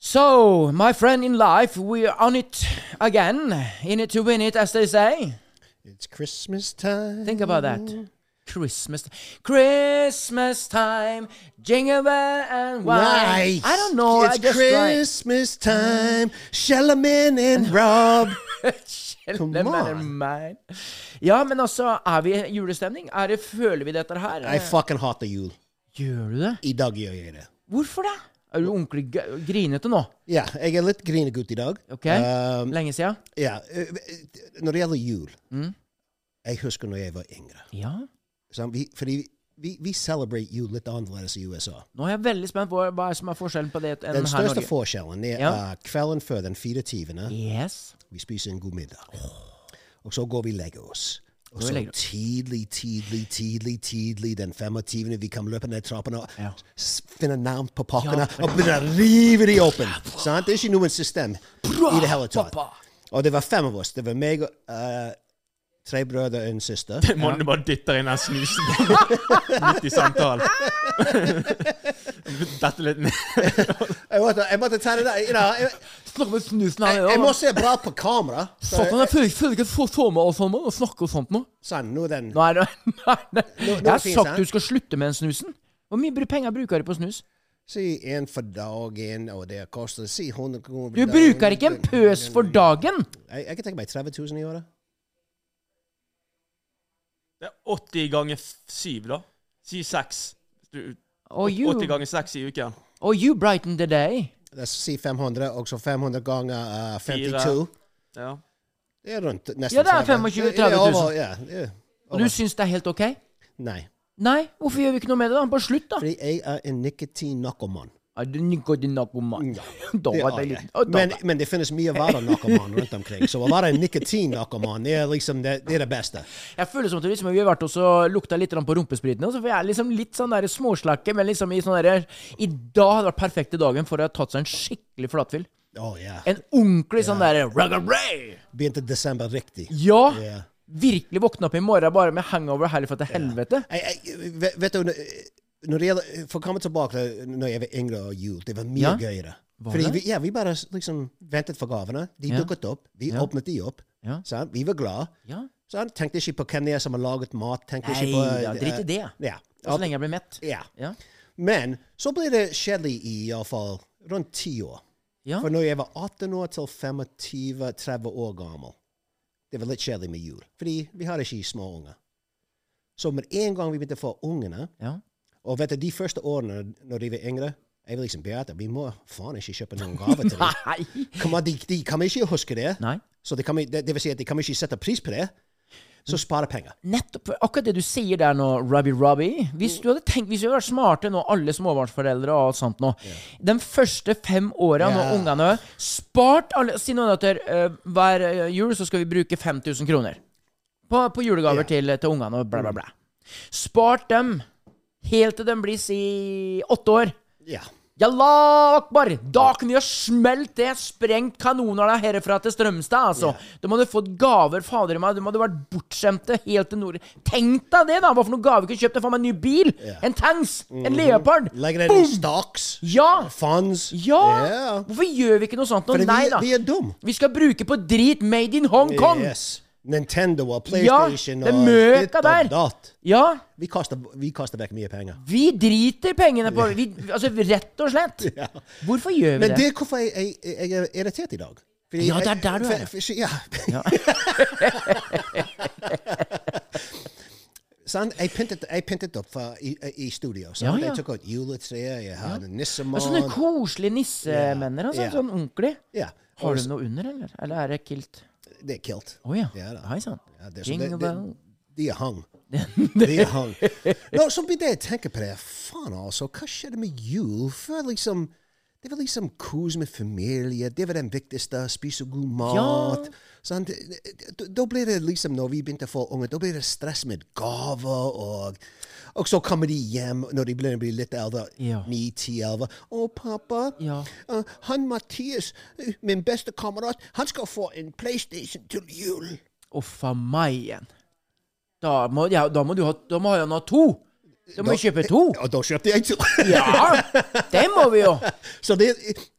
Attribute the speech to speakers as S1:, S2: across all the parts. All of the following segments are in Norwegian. S1: So, my friend in life, we are on it again. In it to win it, as they say.
S2: It's Christmas time.
S1: Think about
S2: Mm-hmm.
S1: that. Christmas, Christmas time, jingle bell and wine.
S2: Nice.
S1: I don't know.
S2: It's
S1: I just
S2: Christmas time. Shellman and Rob. Come on.
S1: Come Ja, men altså, er vi i julestemning? Er det, føler vi dette her?
S2: I fucking hater jul.
S1: Gjør du det?
S2: I dag gjør jeg det.
S1: Hvorfor det? Er du ordentlig g- grinete nå?
S2: Ja, jeg er litt grinegutt i dag.
S1: Ok?
S2: Um,
S1: Lenge siden?
S2: ja, eh, når det gjelder jul
S1: Mm.
S2: Jeg husker når jeg var yngre.
S1: Ja.
S2: sant? vi, fordi vi, vi, vi celebrate jul litt annerledes i USA.
S1: Nå er jeg veldig spent på hva som er forskjellen på det enn her
S2: Den
S1: i
S2: største
S1: Norge.
S2: forskjellen er
S1: Ja.
S2: eh, kvelden før den 24.
S1: Yes.
S2: Vi spiser en god middag. Og så går vi legger oss. Og
S1: Går vi
S2: så
S1: legger oss.
S2: tidlig, tidlig, tidlig, tidlig den 25. Vi kom løpende ned trappene og
S1: Ja.
S2: s- finner navn på pakkene
S1: Ja,
S2: og begynner å rive de åpen. Sant? Det er ikke noe system i det hele tatt.
S1: pappa.
S2: Og det var fem av oss. Det var meg og eh, tre brødre og en søster.
S3: Mannen bare dytter inn den snusen midt i samtalen. Dette litt ned.
S2: Jeg måtte, jeg måtte ta det der. You know, jeg,
S1: Snakk med snusen
S2: jeg, jeg må se bra på kamera. Så
S1: Satan,
S2: jeg-
S1: jeg føler ikke- føler ikke at folk får med oss sånn nå, og snakker og sånt nå.
S2: Sånn, nå er den.
S1: Nå er det Nei, nei.
S2: nå
S1: Jeg har
S2: finnes
S1: sagt
S2: det.
S1: du skal slutte med den snusen. Hvor mye br- penger bruker du på snus?
S2: Si en for dagen, og det koster si 100 kroner.
S1: Du bruker ikke en pøs for dagen!
S2: Jeg, jeg kan tenke meg 30 000 i året.
S3: Det er 80 ganger 7, da. Si 6.
S1: Og you,
S3: 80 ganger 6 i uken.
S1: og you brighten the day.
S2: La oss si 500, og så 500 ganger eh,
S3: Fire.
S2: 52.
S3: Ja.
S2: Det er rundt nesten
S1: Ja, det er
S2: 30.
S1: 25 000.
S2: Det er over, ja, det er
S1: Og du
S2: over.
S1: syns det er helt OK?
S2: Nei.
S1: Nei, hvorfor gjør vi ikke noe med det, da? Bare slutt, da.
S2: Fordi jeg er en nikotin-narkoman.
S1: Er du nikket din narkoman?
S2: Ja,
S1: Da
S2: det
S1: var
S2: er
S1: det
S2: jeg.
S1: litt Å, da
S2: Men,
S1: var-
S2: men det finnes mye verre narkoman rundt omkring. Så å være en nikotin-narkoman, det er liksom det, det, er det beste.
S1: Jeg føler som at det liksom, vi har vært og så lukta litt grann på rumpespritene, og så får jeg liksom litt sånn der småslakke, men liksom i sånn derre I dag hadde vært perfekte dagen for å ha tatt seg en skikkelig flatfyll.
S2: Å ja.
S1: En ordentlig sånn derre ruggaray!
S2: Begynte desember riktig.
S1: Ja!
S2: Ja.
S1: Virkelig våkne opp i morgen bare med hangover herfra til helvete.
S2: Jeg, jeg, vet- vet du, når det gjelder, for å komme tilbake til når jeg var yngre og jul, det var mye
S1: Ja?
S2: gøyere.
S1: Var
S2: Fordi
S1: det?
S2: vi, ja, vi bare liksom ventet for gavene. De
S1: Ja.
S2: dukket opp. Vi
S1: Ja.
S2: åpnet de opp.
S1: Ja.
S2: Sant? Vi var glad.
S1: Ja.
S2: Sant? Tenkte ikke på hvem det er som har laget mat. Tenkte
S1: Nei
S2: ikke på eh,
S1: da, drit i det.
S2: Ja.
S1: Og så lenge jeg blir mett.
S2: ja.
S1: Ja.
S2: Men så ble det kjedelig i iallfall rundt ti år.
S1: Ja.
S2: For når jeg var 18 år til 25-30 år gammel, det var litt kjedelig med jul. Fordi vi hadde ikke små unger. Så med en gang vi begynte å få ungene,
S1: ja.
S2: og vet du, de første årene når de var yngre, jeg var liksom Beate, vi må faen ikke kjøpe noen gave til dem.
S1: Nei.
S2: Kom, an, de, de kan ikke huske det.
S1: Nei.
S2: Så de kan, det, det vil si at de kan ikke sette pris på det. Så spare penger.
S1: Nettopp for akkurat det du sier der nå, Robbie Robbie Hvis
S2: Mm.
S1: du hadde tenkt, hvis vi hadde vært smarte nå, alle småbarnsforeldre og alt sånt nå De første fem åra når
S2: Ja.
S1: ungene Spart alle Si nå at eh, hver eh, jul så skal vi bruke 5000 kroner på, på julegaver
S2: Ja. Mm.
S1: til, til ungene og bla, bla, bla. Spart dem helt til de blir si åtte år.
S2: Ja.
S1: Jalla akbar! Da kunne vi ha smelt det, sprengt kanonene herfra til Strømstad, altså. Da må du fått gaver, fader i meg. Du må ha vært bortskjemte helt til nord... Tenk deg det, da! Hva for noen gaver du kunne kjøpt deg? Faen meg en ny bil! En tanks!
S2: Mhm.
S1: En leopard!
S2: Legger det i stocks.
S1: Ja!
S2: Funds.
S1: Ja!
S2: Yeah.
S1: Hvorfor gjør vi ikke noe sånt nå?
S2: For
S1: Nei
S2: vi,
S1: da.
S2: vi er dum.
S1: Vi skal bruke på drit made in Hongkong!
S2: Yes. Nintendo og
S1: Ja,
S2: PlayStation
S1: det er
S2: og
S1: møka
S2: ditt og
S1: der.
S2: datt.
S1: Ja,
S2: Vi kaster, vi kaster vekk mye penger.
S1: vi driter pengene på vi, Altså, rett og slett. Hvorfor gjør vi
S2: Men
S1: det?
S2: det er hvorfor jeg, jeg, jeg er irritert i dag. Fordi
S1: Ja, det er
S2: jeg-
S1: der du er.
S2: for- for- ja. Sånn, jeg pyntet, jeg pyntet opp for, i, i studio. Sant?
S1: Ja, ja.
S2: Jeg tok ut juletreet, jeg hadde nissemann
S1: Det er sånne koselige nissemenner, altså.
S2: Ja.
S1: Sånn ordentlig.
S2: ja.
S1: Har
S2: Og
S1: du noe under, eller? Eller er det kilt?
S2: s- Det er kilt.
S1: Å ja.
S2: Ja da.
S1: Hei sann.
S2: Ja, det er så-
S1: Jingle
S2: det- det-
S1: bell.
S2: De er hang. De er hang. No, så blir det jeg tenker på det. Faen, altså. Hva skjedde med jul? Før liksom Det var liksom kos med familie. Det var den viktigste. Spise god mat. sant? Da- Da ble det liksom, når vi begynte å få unger, da ble det stress med gaver og og så kommer de hjem når de begynner å bli litt eldre.
S1: Ja.
S2: Ni, ti, elleve. 'Å, pappa,
S1: Ja.
S2: eh, han Mathias, eh, min beste kamerat, han skal få en PlayStation til jul.'
S1: Uff a meg igjen. Da må, ja, da må du ha Da må han ha to! Da må vi kjøpe to!
S2: Og da kjøpte jeg to.
S1: Ja! Det må vi jo!
S2: Så det,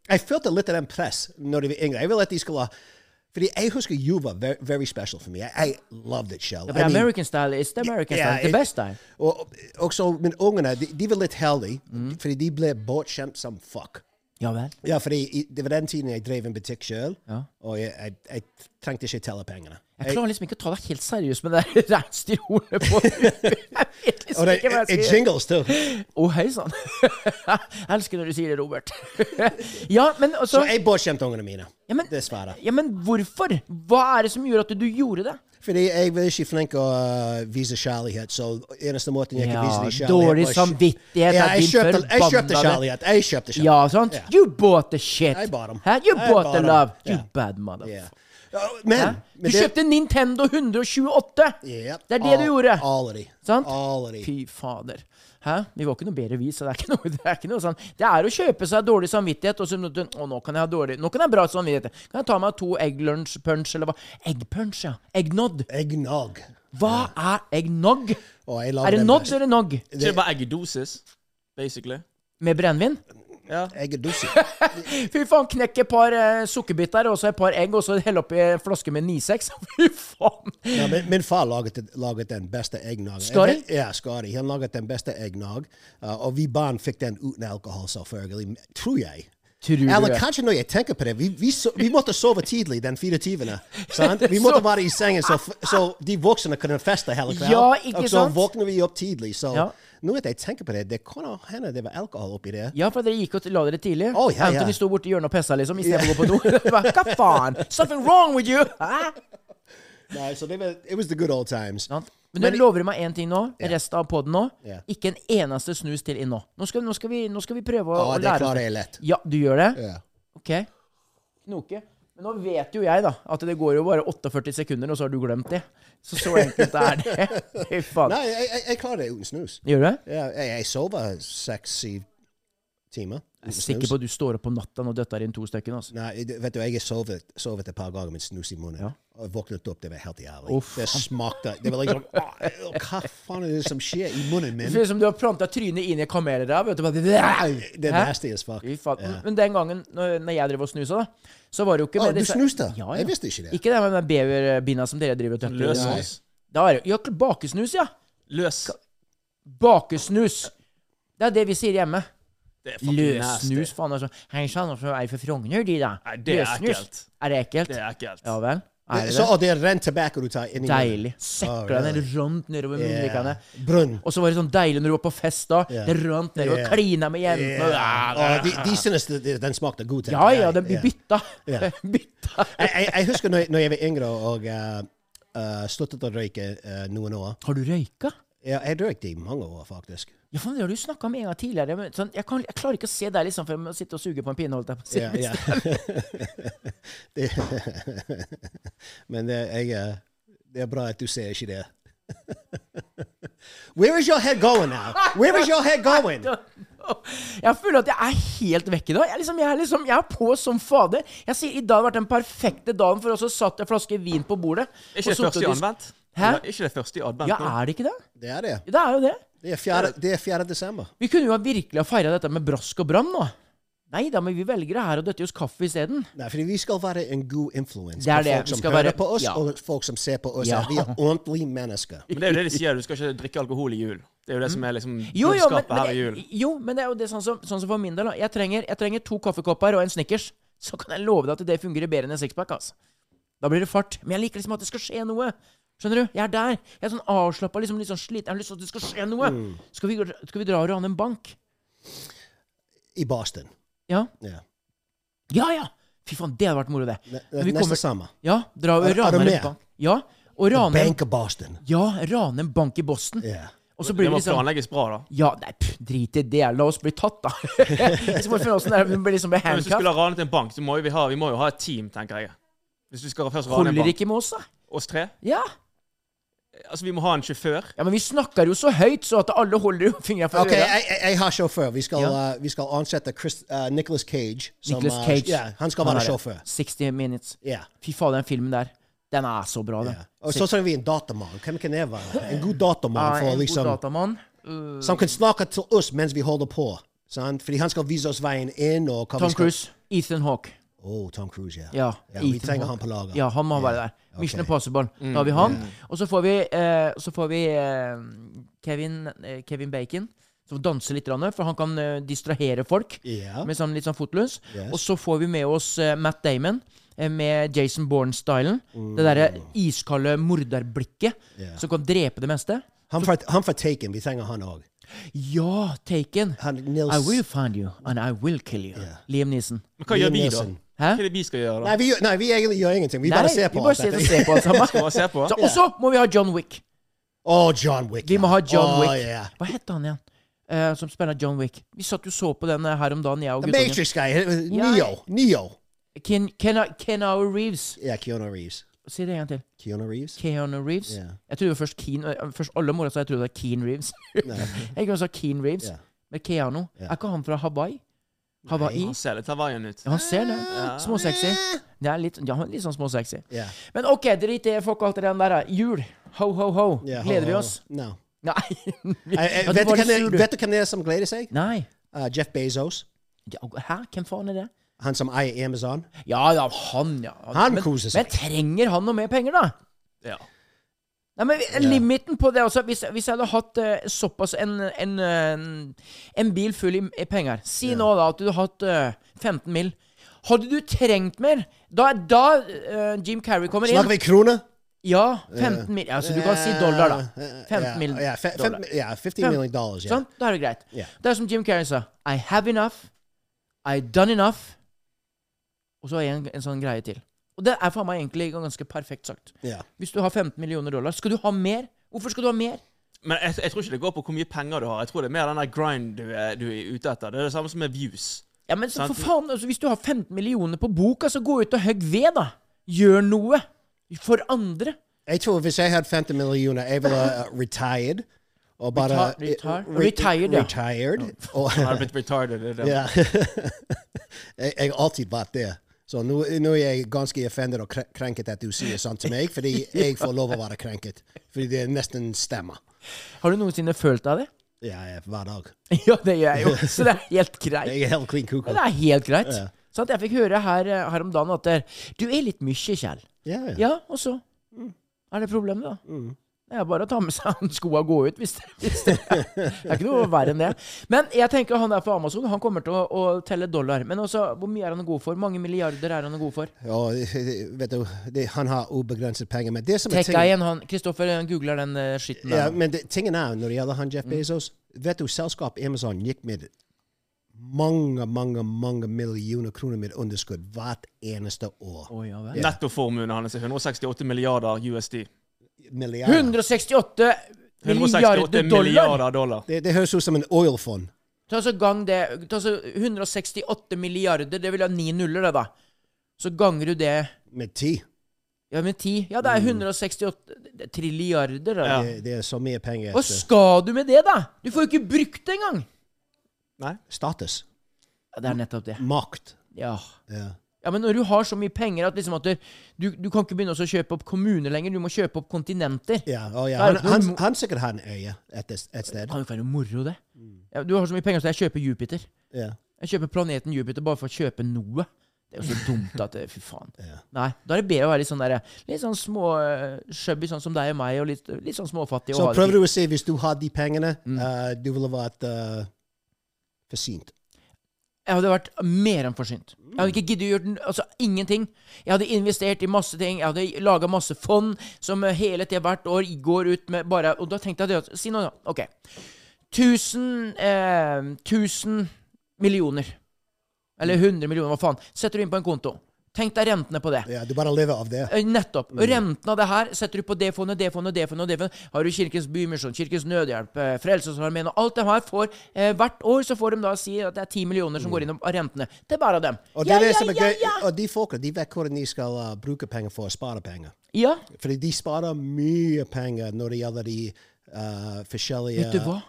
S2: jeg følte litt av den press når de var yngre. Jeg ville at de skulle fordi jeg husker jul var very, very special for meg. I loved it, Shell.
S1: Ja,
S2: I
S1: men
S2: mean,
S1: American style is the American
S2: yeah,
S1: style. The
S2: it-
S1: best style.
S2: og, og så, men ungene, de, de var litt heldige, fordi de ble bortskjemt som fuck.
S1: Ja vel.
S2: Ja, fordi i- det var den tiden jeg drev en butikk sjøl,
S1: Ja.
S2: og jeg, jeg, jeg trengte ikke telle pengene.
S1: Jeg klarer liksom ikke å ta deg helt seriøst med det der reinsdyrhornet på Jeg vet
S2: og
S1: liksom
S2: det,
S1: ikke hva
S2: eh,
S1: jeg skal gjøre.
S2: jingles, too.
S1: Å, hei sann. Jeg elsker når du sier det, Robert. Ja, men
S2: Så
S1: altså
S2: jeg bortskjemte ungene mine.
S1: Ja, men-
S2: Dessverre.
S1: Ja, men hvorfor? Hva er det som gjorde at du gjorde det?
S2: Fordi jeg var ikke flink å uh, vise kjærlighet, så eneste måten jeg
S1: Ja,
S2: kunne vise dem kjærlighet
S1: dårlig
S2: var å kj-
S1: samvittighet
S2: Ja,
S1: er
S2: jeg
S1: din
S2: kjøpte, jeg kjøpte
S1: forbannede-
S2: kjærlighet. Jeg kjøpte kjærlighet.
S1: Ja, sant?
S2: Ja.
S1: You bought the shit.
S2: I bought 'em.
S1: Huh? You
S2: I
S1: bought the
S2: bought 'em.
S1: love. You
S2: Yeah.
S1: bad mother.
S2: Ja. Ja, Men,
S1: Hæ?
S2: men
S1: Du kjøpte en Nintendo 128!
S2: Ja,
S1: Det er det du
S2: all-
S1: gjorde.
S2: All of de.
S1: Sant?
S2: All of de.
S1: Fy fader. Hæ? Vi var ikke noe bedre, vi. Så det er ikke noe, det er ikke noe sånn. Det er å kjøpe seg dårlig samvittighet, og så må du, Å, nå kan jeg ha dårlig Nå kan jeg ha bra samvittighet. Kan jeg ta meg to egg lunch punch, eller hva? Egg punch, ja. Eggnodd.
S2: Eggnog.
S1: Hva er eggnog?
S2: Og jeg lagde
S1: Er det
S2: den
S1: nodd
S2: beste.
S1: eller nog?
S3: Så det er bare eggedosis, basically.
S1: Med brennevin?
S3: Ja.
S2: Egg er dusse.
S1: Fy faen, knekk et par eh, sukkerbiter og så et par egg, og så hell oppi en flaske med 96. Fy faen!
S2: Ja, min, min far laget, det- laget den beste eggnog.
S1: Skari?
S2: Jeg vet- Ja, Skari. Han laget den beste eggnog, uh, og vi barn fikk den uten alkohol, selvfølgelig. Tror jeg.
S1: Tror du
S2: Eller
S1: det?
S2: kanskje når jeg tenker på det, vi, vi, so, vi måtte sove tidlig den 24. Sant? Vi måtte være i sengen, så, f- så de voksne kunne feste hele kvelden.
S1: Ja, ikke
S2: og så
S1: sant?
S2: våkner vi opp tidlig. Så
S1: Ja.
S2: nå at jeg tenker på det, det kunne hende det var alkohol oppi det.
S1: Ja, for dere gikk og la dere tidlig.
S2: Å, ja, ja.
S1: Anthony sto borti hjørnet og pessa, liksom, istedenfor for å gå på do. Hva- Hva faen? Something wrong with you! Hæ?
S2: Nei, så det var, it was the good old times.
S1: Sant? Men du lover meg én ting nå, resten av poden nå.
S2: Ja.
S1: Ikke en eneste snus til inn nå. Nå skal, nå skal, vi, nå skal vi prøve å,
S2: Ja,
S1: å
S2: det
S1: lære
S2: klarer
S1: oss
S2: jeg lett.
S1: Ja, du gjør det?
S2: Ja.
S1: Ok. Knoke. Men nå vet jo jeg, da, at det går jo bare 48 sekunder, og så har du glemt det. Så så enkelt er det. Fy faen.
S2: Nei, jeg, jeg, jeg klarer det uten snus.
S1: Gjør du det?
S2: Ja, jeg, jeg sover seks-syv timer.
S1: Jeg er sikker på at du står opp om natta og døtter inn to stykker. Altså.
S2: Nei, det- vet du, jeg har sovet, sovet et par ganger med snus i munnen. Og jeg våknet opp, det var helt jævlig.
S1: Uff.
S2: Det smakte Det var liksom «Åh, Hva faen er det som skjer i munnen
S1: Det
S2: min?
S1: ser ut som du har planta trynet inn i kamelræv. vet du, bare-
S2: Det er
S1: Hæ?
S2: nasty as fuck.
S1: Fy faen.
S2: Ja.
S1: Men den gangen når, når jeg drev og snusa, da, så var det jo ikke
S2: Å,
S1: med
S2: du
S1: disse-
S2: snuste?
S1: Ja, ja.
S2: Jeg visste ikke det.
S1: Ikke det med den beverbinda som dere driver og tøffer.
S3: Løs
S1: Nei.
S3: snus.
S1: Da er det jo ja, bakesnus, ja.
S3: Løs.
S1: Bakesnus. Det er det vi sier hjemme.
S3: Det er fucking nasty.
S1: Løssnus, faen. Altså. Hei sann, hvorfor er jeg fra Frogner, de, da?
S3: Nei, det er
S1: Løssnus.
S3: ekkelt.
S1: Er det ekkelt?
S3: Det er ekkelt.
S1: Ja vel? Er det
S2: Så
S1: det?
S2: og det rant tilbake du tar inn i munnen.
S1: Deilig.
S2: Oh,
S1: Søkla den
S2: really?
S1: rundt nedover munnvikene.
S2: Yeah. Brunn.
S1: Og så var det sånn deilig når du var på fest, da.
S2: Ja.
S1: Det rant nedover.
S2: Ja.
S1: Klina med jentene.
S2: Yeah. Og de, de synes det- det- den smakte god. tenker
S1: Ja ja,
S2: jeg.
S1: den blir
S2: Yeah.
S1: bytta.
S2: Ja.
S1: bytta.
S2: Jeg, jeg, jeg husker når, når jeg var yngre og eh, eh, sluttet å røyke eh, noen år.
S1: Har du røyka?
S2: Ja, jeg røykte i mange år, faktisk.
S1: Ja, faen, det har du snakka om en gang tidligere. Men sånn, jeg, kan, jeg klarer ikke å se deg liksom, for jeg må sitte og suge på en pinne. Holdt jeg på å si. liksom.
S2: Ja, ja. det, men det, jeg, eh, det er bra at du sier ikke det. Where is your head going now? Where is your head going?
S1: Jeg føler at jeg er helt vekk i dag. Jeg er, liksom, jeg er, liksom, jeg er på som fader. Jeg sier, I dag har vært den perfekte dagen, for også satt en flaske vin på bordet.
S3: Er
S1: og
S3: ikke det første i
S1: suttet og dis-
S3: advent?
S1: Hæ?
S3: Er ikke det første i advent
S1: Ja,
S3: nå?
S1: er det ikke det?
S2: Det er det.
S1: Det er jo det.
S2: Det er 4. Det er 4. desember.
S1: Vi kunne jo ha virkelig ha feira dette med brask og brann nå. Nei da, men vi velger det her og døtter i oss kaffe isteden.
S2: Nei, fordi vi skal være en god influens
S1: Det er
S2: på
S1: det.
S2: folk
S1: Vi
S2: som
S1: skal
S2: hører
S1: være-
S2: på oss,
S1: ja.
S2: og folk som ser på oss.
S1: Ja.
S2: at Vi er ordentlige mennesker.
S3: Men det er jo det de sier, du skal ikke drikke alkohol i jul. Det er jo det som er liksom
S1: Jo, jo, men,
S3: budskapet her i
S1: men,
S3: jul.
S1: det- jo, men det er jo det sånn som, sånn som for min del. da. Jeg trenger, jeg trenger to kaffekopper og en Snickers. Så kan jeg love deg at det fungerer bedre enn en sixpack. ass. Da blir det fart. Men jeg liker liksom at det skal skje noe. Skjønner du? Jeg er der. Jeg er sånn avslappa, liksom, litt sånn sliten. Jeg har lyst til at det skal skje noe. Skal, vi, gå- skal vi dra og rane en bank?
S2: I Boston.
S1: Ja.
S2: Ja.
S1: Ja, ja! Fy faen, det hadde vært moro, det.
S2: Ne-
S1: Når vi
S2: Neste
S1: kommer-
S2: sommer.
S1: Ja, dra og
S2: Er- er du
S1: rane
S2: med?
S1: en bank. Ja, og rane en
S2: Bank of Boston.
S1: Ja, rane en bank i Boston.
S2: Ja.
S1: Og så
S3: Det
S1: blir
S3: må
S1: det liksom
S3: planlegges bra, da.
S1: Ja, nei, pff, drit i det. La oss bli tatt, da. så må vi finne åssen det er. Vi blir liksom bli
S3: Men hvis
S1: handcuffed.
S3: du skulle ha ranet en bank, så må jo vi, ha, vi må jo ha et team, tenker jeg. Hvis du skal først rane
S1: Holder
S3: en bank.
S1: ikke med oss, da.
S3: Oss tre.
S1: Ja.
S3: Altså, vi må ha en sjåfør.
S1: ja, men vi snakker jo så høyt, så at alle holder jo fingra for
S2: Ok,
S1: øra.
S2: jeg, jeg- jeg har sjåfør. Vi skal,
S1: Ja.
S2: uh, vi skal ansette Chris, uh, Nicholas Cage. som,
S1: Nicolas
S2: uh,
S1: Cage.
S2: Ja, han skal
S1: Han
S2: være
S1: er det.
S2: sjåfør.
S1: 60 minutes.
S2: Ja.
S1: Fy faen, den filmen der. Den er så bra, den.
S2: ja. Og så trenger vi en datamann. Hvem kan det være? En god datamann
S1: Ah,
S2: for
S1: en god
S2: liksom,
S1: datamann.
S2: som kan snakke til oss mens vi holder på. Sant? Fordi han skal vise oss veien inn. Og hva vi
S1: Tom
S2: skal-
S1: Cruise. Ethan Hawke.
S2: Oh, Tom Cruise, ja.
S1: Ja,
S2: vi
S1: Ethan
S2: trenger
S1: Hawke.
S2: han på laget.
S1: Ja, han må være der. Mission Impossible. Da har vi han. Og så får vi, eh, så får vi eh, Kevin, eh, Kevin Bacon, som danser litt, grann, for han kan eh, distrahere folk.
S2: Ja.
S1: Med sånn, litt sånn fotløs.
S2: Yes.
S1: Og så får vi med oss eh, Matt Damon. eh, Med Jason Bourne-stylen. Det derre iskalde morderblikket
S2: Ja.
S1: som kan drepe det meste.
S2: Han fra, han fra Taken. Vi trenger han òg.
S1: Ja, Taken!
S2: Han
S1: I
S2: Nils
S1: will find you, and I will kill you. Liam Neeson.
S3: Men hva gjør vi, da?
S2: Nielsen.
S1: Hæ?
S3: Hva er det vi skal gjøre, da?
S2: Nei, vi, gjør- nei, vi egentlig gjør ingenting. Vi
S1: Nei,
S2: bare ser på.
S1: vi bare
S2: alt
S1: sitter
S2: dette.
S1: og ser på alt sammen.
S3: Skal vi se på?
S1: Så- Og så må vi ha John Wick.
S2: Åh, John Wick.
S1: Vi må ha John
S2: Åh,
S1: Wick.
S2: ja.
S1: Hva het han igjen? Eh, som spiller John Wick. Vi satt jo så på den eh, her om dagen, jeg og
S2: The
S1: guttungen.
S2: Matrix guy. Neo. Neo.
S1: Ken, Ken, Keanu Reeves.
S2: Ja, Keanu Reeves.
S1: Si det en gang til.
S2: Keanu Reeves?
S1: Keanu Reeves.
S2: Ja.
S1: Jeg trodde først Keen eh, Først alle mora sa jeg trodde det var Keen Reeves. jeg gikk og sa Keen Reeves.
S2: Ja.
S1: Men Keanu Er ikke han fra Hawaii? Hawaii?
S3: Han ser litt Hawaiian ut.
S1: Ja, han ser det. Småsexy. Det er litt, ja, han er litt sånn småsexy.
S2: Ah. Ja.
S1: Men OK, drit i fuck alt det der. da. Jul. Ho, ho, ho.
S2: Ja,
S1: Gleder vi
S2: ho, ho.
S1: oss?
S2: Oh, No.
S1: Nei.
S2: Jeg, jeg,
S1: Ja, du
S2: vet, du
S1: var litt
S2: hvem det-
S1: sur, du.
S2: vet du hvem det er som gleder seg?
S1: Nei.
S2: Uh, Jeff Bezos.
S1: Ja, Hæ? Hvem faen er det?
S2: Han som eier Amazon.
S1: Ja, ja, han, ja.
S2: Han
S1: men,
S2: koser seg.
S1: Men trenger han noe mer penger, da?
S3: Ja.
S1: Nei, men Limiten på det også Hvis, hvis jeg hadde hatt eh, såpass en, en, eh, en bil full i, i penger Si nå da at du hadde hatt eh, 15 mil. Hadde du trengt mer? Da, da eh, Jim Carrey kommer
S2: Snakker
S1: inn
S2: vi kroner?
S1: Ja, 15 mil. Altså, du kan si dollar, da.
S2: Eh,
S1: 15
S2: ja,
S1: mil
S2: Ja, fe-
S1: dollar.
S2: fem- ja, 50 million dollars. Ja.
S1: Sånn, da er det greit.
S2: Ja.
S1: Det er som Jim Carrey sa. I have enough. I done enough. Og så er en, en sånn greie til. Og det er for meg egentlig ganske perfekt sagt.
S2: Ja.
S1: Hvis du har 15 millioner dollar, skal du ha mer? Hvorfor skal du ha mer?
S3: Men jeg, jeg tror ikke det går på hvor mye penger du har. Jeg tror det er mer den der grind du er, du er ute etter. Det er det samme som med views.
S1: Ja, men så,
S3: Sant.
S1: for faen, altså, Hvis du har 15 millioner på boka, så gå ut og hogg ved, da. Gjør noe. For andre.
S2: Jeg tror hvis jeg hadde 50 millioner, jeg ville uh, retired. Og bare
S1: Retar- retar-
S2: re-
S1: Retired, Oh. ja.
S2: Retired. Og,
S3: Han har blitt retarded. Det, er det.
S2: Ja. jeg, jeg har alltid vært det. Så nå, nå er jeg ganske offended og kre- krenket at du sier sånt til meg, fordi jeg får lov å være krenket. Fordi det er nesten stemmer.
S1: Har du noensinne følt deg det?
S2: Ja, ja, hver dag.
S1: ja, det gjør jeg jo. Så det er helt greit.
S2: Jeg er helt klin koko.
S1: Men det er helt greit.
S2: Ja.
S1: Sant? jeg fikk høre her, eh, her om dagen at eh, du er litt mye, Kjell.
S2: Ja, ja. Mm.
S1: Ja, og så? Er det problemet, da? Det er bare å ta med seg han skoa og gå ut, hvis det, hvis det, det er ikke noe verre enn det. Men jeg tenker han der på Amazon han kommer til å, å telle dollar. Men også, hvor mye er han god for? Mange milliarder er han god for?
S2: Og, vet du, det, han har ubegrenset penger. Men det som er
S1: Tekka
S2: tingen,
S1: igjen, han Kristoffer han googler den eh, skitten
S2: ja,
S1: der.
S2: men det, tingen er, når det gjelder han Jeff Bezos Vet du, selskapet Amazon gikk med mange, mange mange millioner kroner med underskudd hvert eneste år.
S1: Å, ja, vel.
S3: Nettoformuen hans er 168 milliarder USD.
S2: Milliarder.
S1: 168 milliarder
S3: 168
S1: dollar!
S3: milliarder dollar.
S2: Det, det høres ut som en oilfond.
S1: Ta så gang det ta så 168 milliarder, det vil ha ni nuller, det, da. Så ganger du det
S2: Med ti.
S1: ja, med ti. Ja, det er 168 trilliarder. Da.
S3: Ja.
S2: Det, det er så mye penger.
S1: Hva
S2: at- eh,
S1: skal du med det, da? Du får jo ikke brukt det engang!
S3: Nei.
S2: Status.
S1: Ja, det er nettopp det.
S2: Makt.
S1: Ja.
S2: Ja.
S1: ja, men når du har så mye penger at, liksom at du, du, du kan ikke begynne også å kjøpe opp kommuner lenger, du må kjøpe opp kontinenter.
S2: Ja, og ja.
S1: Da er
S2: Han,
S1: det
S2: han,
S1: noen-
S2: han sikkert har en øye et, et sted.
S1: Det kan jo ikke være moro, det. Ja, du har så mye penger, så jeg kjøper Jupiter.
S2: Ja.
S1: Jeg kjøper planeten Jupiter bare for å kjøpe noe. Det er jo så dumt at det, Fy faen.
S2: Ja.
S1: Nei, da er det bedre å være litt sånn der, litt sånn små eh, shubby, sånn som deg og meg, og litt, litt sånn småfattig. Og
S2: Så
S1: ha det
S2: prøver
S1: fint.
S2: du å si hvis du har de pengene,
S1: Mm.
S2: eh, du ville vært eh, for sent.
S1: Jeg hadde vært mer enn forsynt. Jeg hadde ikke giddet å gjøre n- altså, ingenting. Jeg hadde investert i masse ting. Jeg hadde laga masse fond som eh, hele tida hvert år går ut med bare Og da tenkte jeg det at Si noe, da. Ok. 1000 eh, 1000 millioner. Eller 100 millioner, hva faen. Setter du inn på en konto. Tenk deg rentene på det.
S2: Ja, du bare lever av det.
S1: Eh, Nettopp.
S2: Mm.
S1: Og Renten av det her setter du på det fondet, det fondet, det fondet. og det fondet. Har du Kirkens Bymisjon, Kirkens Nødhjelp, eh, Frelsesarmeen og alt det her får eh, Hvert år så får de da si at det er ti millioner som går innom av rentene. Det er bare dem.
S2: Mm. Og, det
S1: Ja,
S2: er det
S1: ja,
S2: som er
S1: ja,
S2: gøy.
S1: ja.
S2: og de folkene de vet hvordan de skal eh, bruke penger for å spare penger.
S1: Ja,
S2: Fordi de sparer mye penger når det gjelder de eh, forskjellige
S1: vet du hva,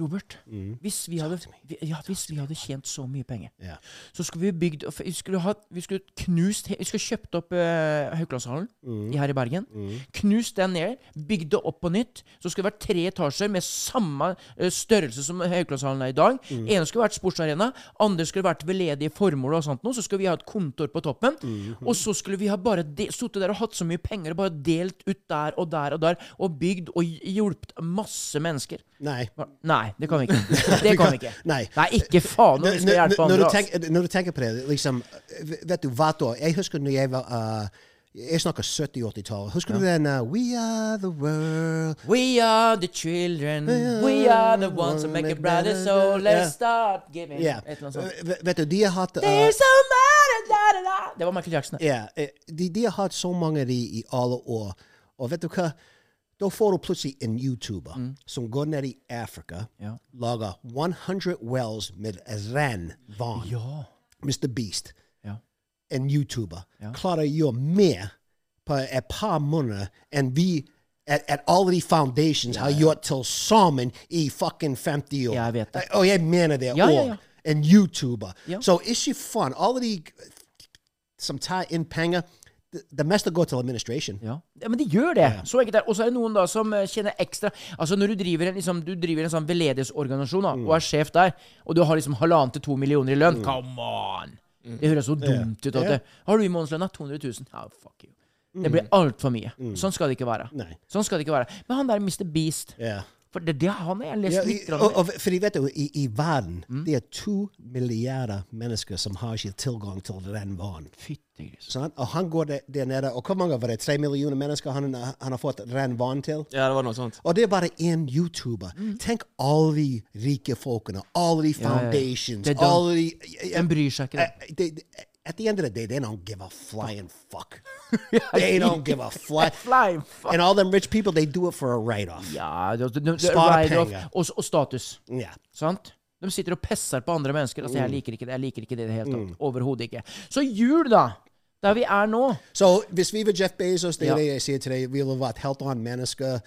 S1: Robert?
S2: Mm.
S1: Hvis, vi hadde, vi- ja, hvis vi hadde tjent så mye penger,
S2: Ja.
S1: så skulle vi bygd Vi skulle, ha, vi skulle knust he- Vi skulle kjøpt opp eh, Haukelandshallen
S2: Mm.
S1: i- her i Bergen. Knust den ned, bygd det opp på nytt. Så skulle det vært tre etasjer med samme eh, størrelse som Haukelandshallen er i dag.
S2: Mm.
S1: Ene skulle vært sportsarena, andre skulle vært veldedige formål og sånt noe. Så skulle vi ha et kontor på toppen.
S2: Mm,
S1: Og så skulle vi ha bare de- sittet der og hatt så mye penger og bare delt ut der og der og der, og bygd og hj- hjulpet masse mennesker.
S2: Nei.
S1: Nei, det kan vi ikke. Det kan vi ikke.
S2: Nei.
S1: Nei, ikke faen om vi skal
S2: Når,
S1: hjelpe
S2: når, du
S1: andre. er ass.
S2: tenker, når du tenker på det, liksom eh, Vet du, hvert år Jeg husker når jeg var eh, Jeg snakker 70-80-tallet. Husker du den eh, We are the world
S1: We are the children, we are the ones that make it brighter, so let's start giving.
S2: Ja.
S1: Et eller annet sånt.
S2: Eh, vet- Vet du, de har hatt eh,
S1: There's somebody, da, da, da. Det var Michael Jackson. det.
S2: Ja, eh, de, de har hatt så mange av de i alle år. Og vet du hva? Da får du plutselig en YouTuber som går ned i Afrika,
S1: Mm. Ja.
S2: lager 100 wells med ren vann.
S1: Ja.
S2: Mr. Beast,
S1: Ja.
S2: en YouTuber,
S1: Ja.
S2: klarer å gjøre mer på et par måneder enn vi at, at alle de foundations har gjort til sammen i e fucking oh, 50 år.
S1: Jeg vet det.
S2: Og jeg mener det.
S1: Ja, ja,
S2: og
S1: ja.
S2: En YouTuber.
S1: Ja.
S2: Så ikke faen. Alle de som tar inn penger. Det, det meste går til administration.
S1: Ja. ja, men de gjør det. Så enkelt er det. Og så er det noen da som eh, tjener ekstra Altså Når du driver en, liksom, du driver en sånn veldedighetsorganisasjon da, og er sjef der, og du har liksom halvannen til to millioner i lønn Come on! Det høres så dumt ut. at
S2: Ja.
S1: det- Har du i månedslønna 200 000? Ja, fuck you. Det blir altfor mye. Sånn skal det ikke være.
S2: Nei.
S1: Sånn skal det ikke være. Men han der Mr. Beast
S2: Ja.
S1: For det, det han har jeg lest
S2: Ja, i,
S1: litt grann
S2: og,
S1: om. Mm.
S2: og, fordi vet du, i, i verden det er to milliarder mennesker som har ikke tilgang til ren vann.
S1: Fyttegris.
S2: Sant? Og han går der, der nede, og hvor mange var det? Tre millioner mennesker han, han har fått ren vann til?
S3: Ja, det var noe sånt.
S2: Og det er bare én YouTuber. Tenk alle de rike folkene, alle de
S1: Mm. ja, ja.
S2: foundations,
S1: Det er dumt.
S2: alle de
S1: Den bryr seg ikke,
S2: Eh, det- det- At the end of the day, they don't give a flying fuck. They don't give a fly.
S1: Flying fuck.
S2: And all them rich people, they do it for a write-off.
S1: Ja, det, det, det, det,
S2: Spare
S1: write-off
S2: penger.
S1: og, s- og status.
S2: Ja.
S1: Sant? De sitter og pisser på andre mennesker. Altså,
S2: Mm.
S1: jeg liker ikke det. Jeg liker ikke det i det hele tatt. Overhodet ikke. Så jul, da! Der vi er nå.
S2: Så hvis vi var Jeff Bezos, det
S1: Ja.
S2: er det jeg sier til deg, vi ville vært helt annet mennesker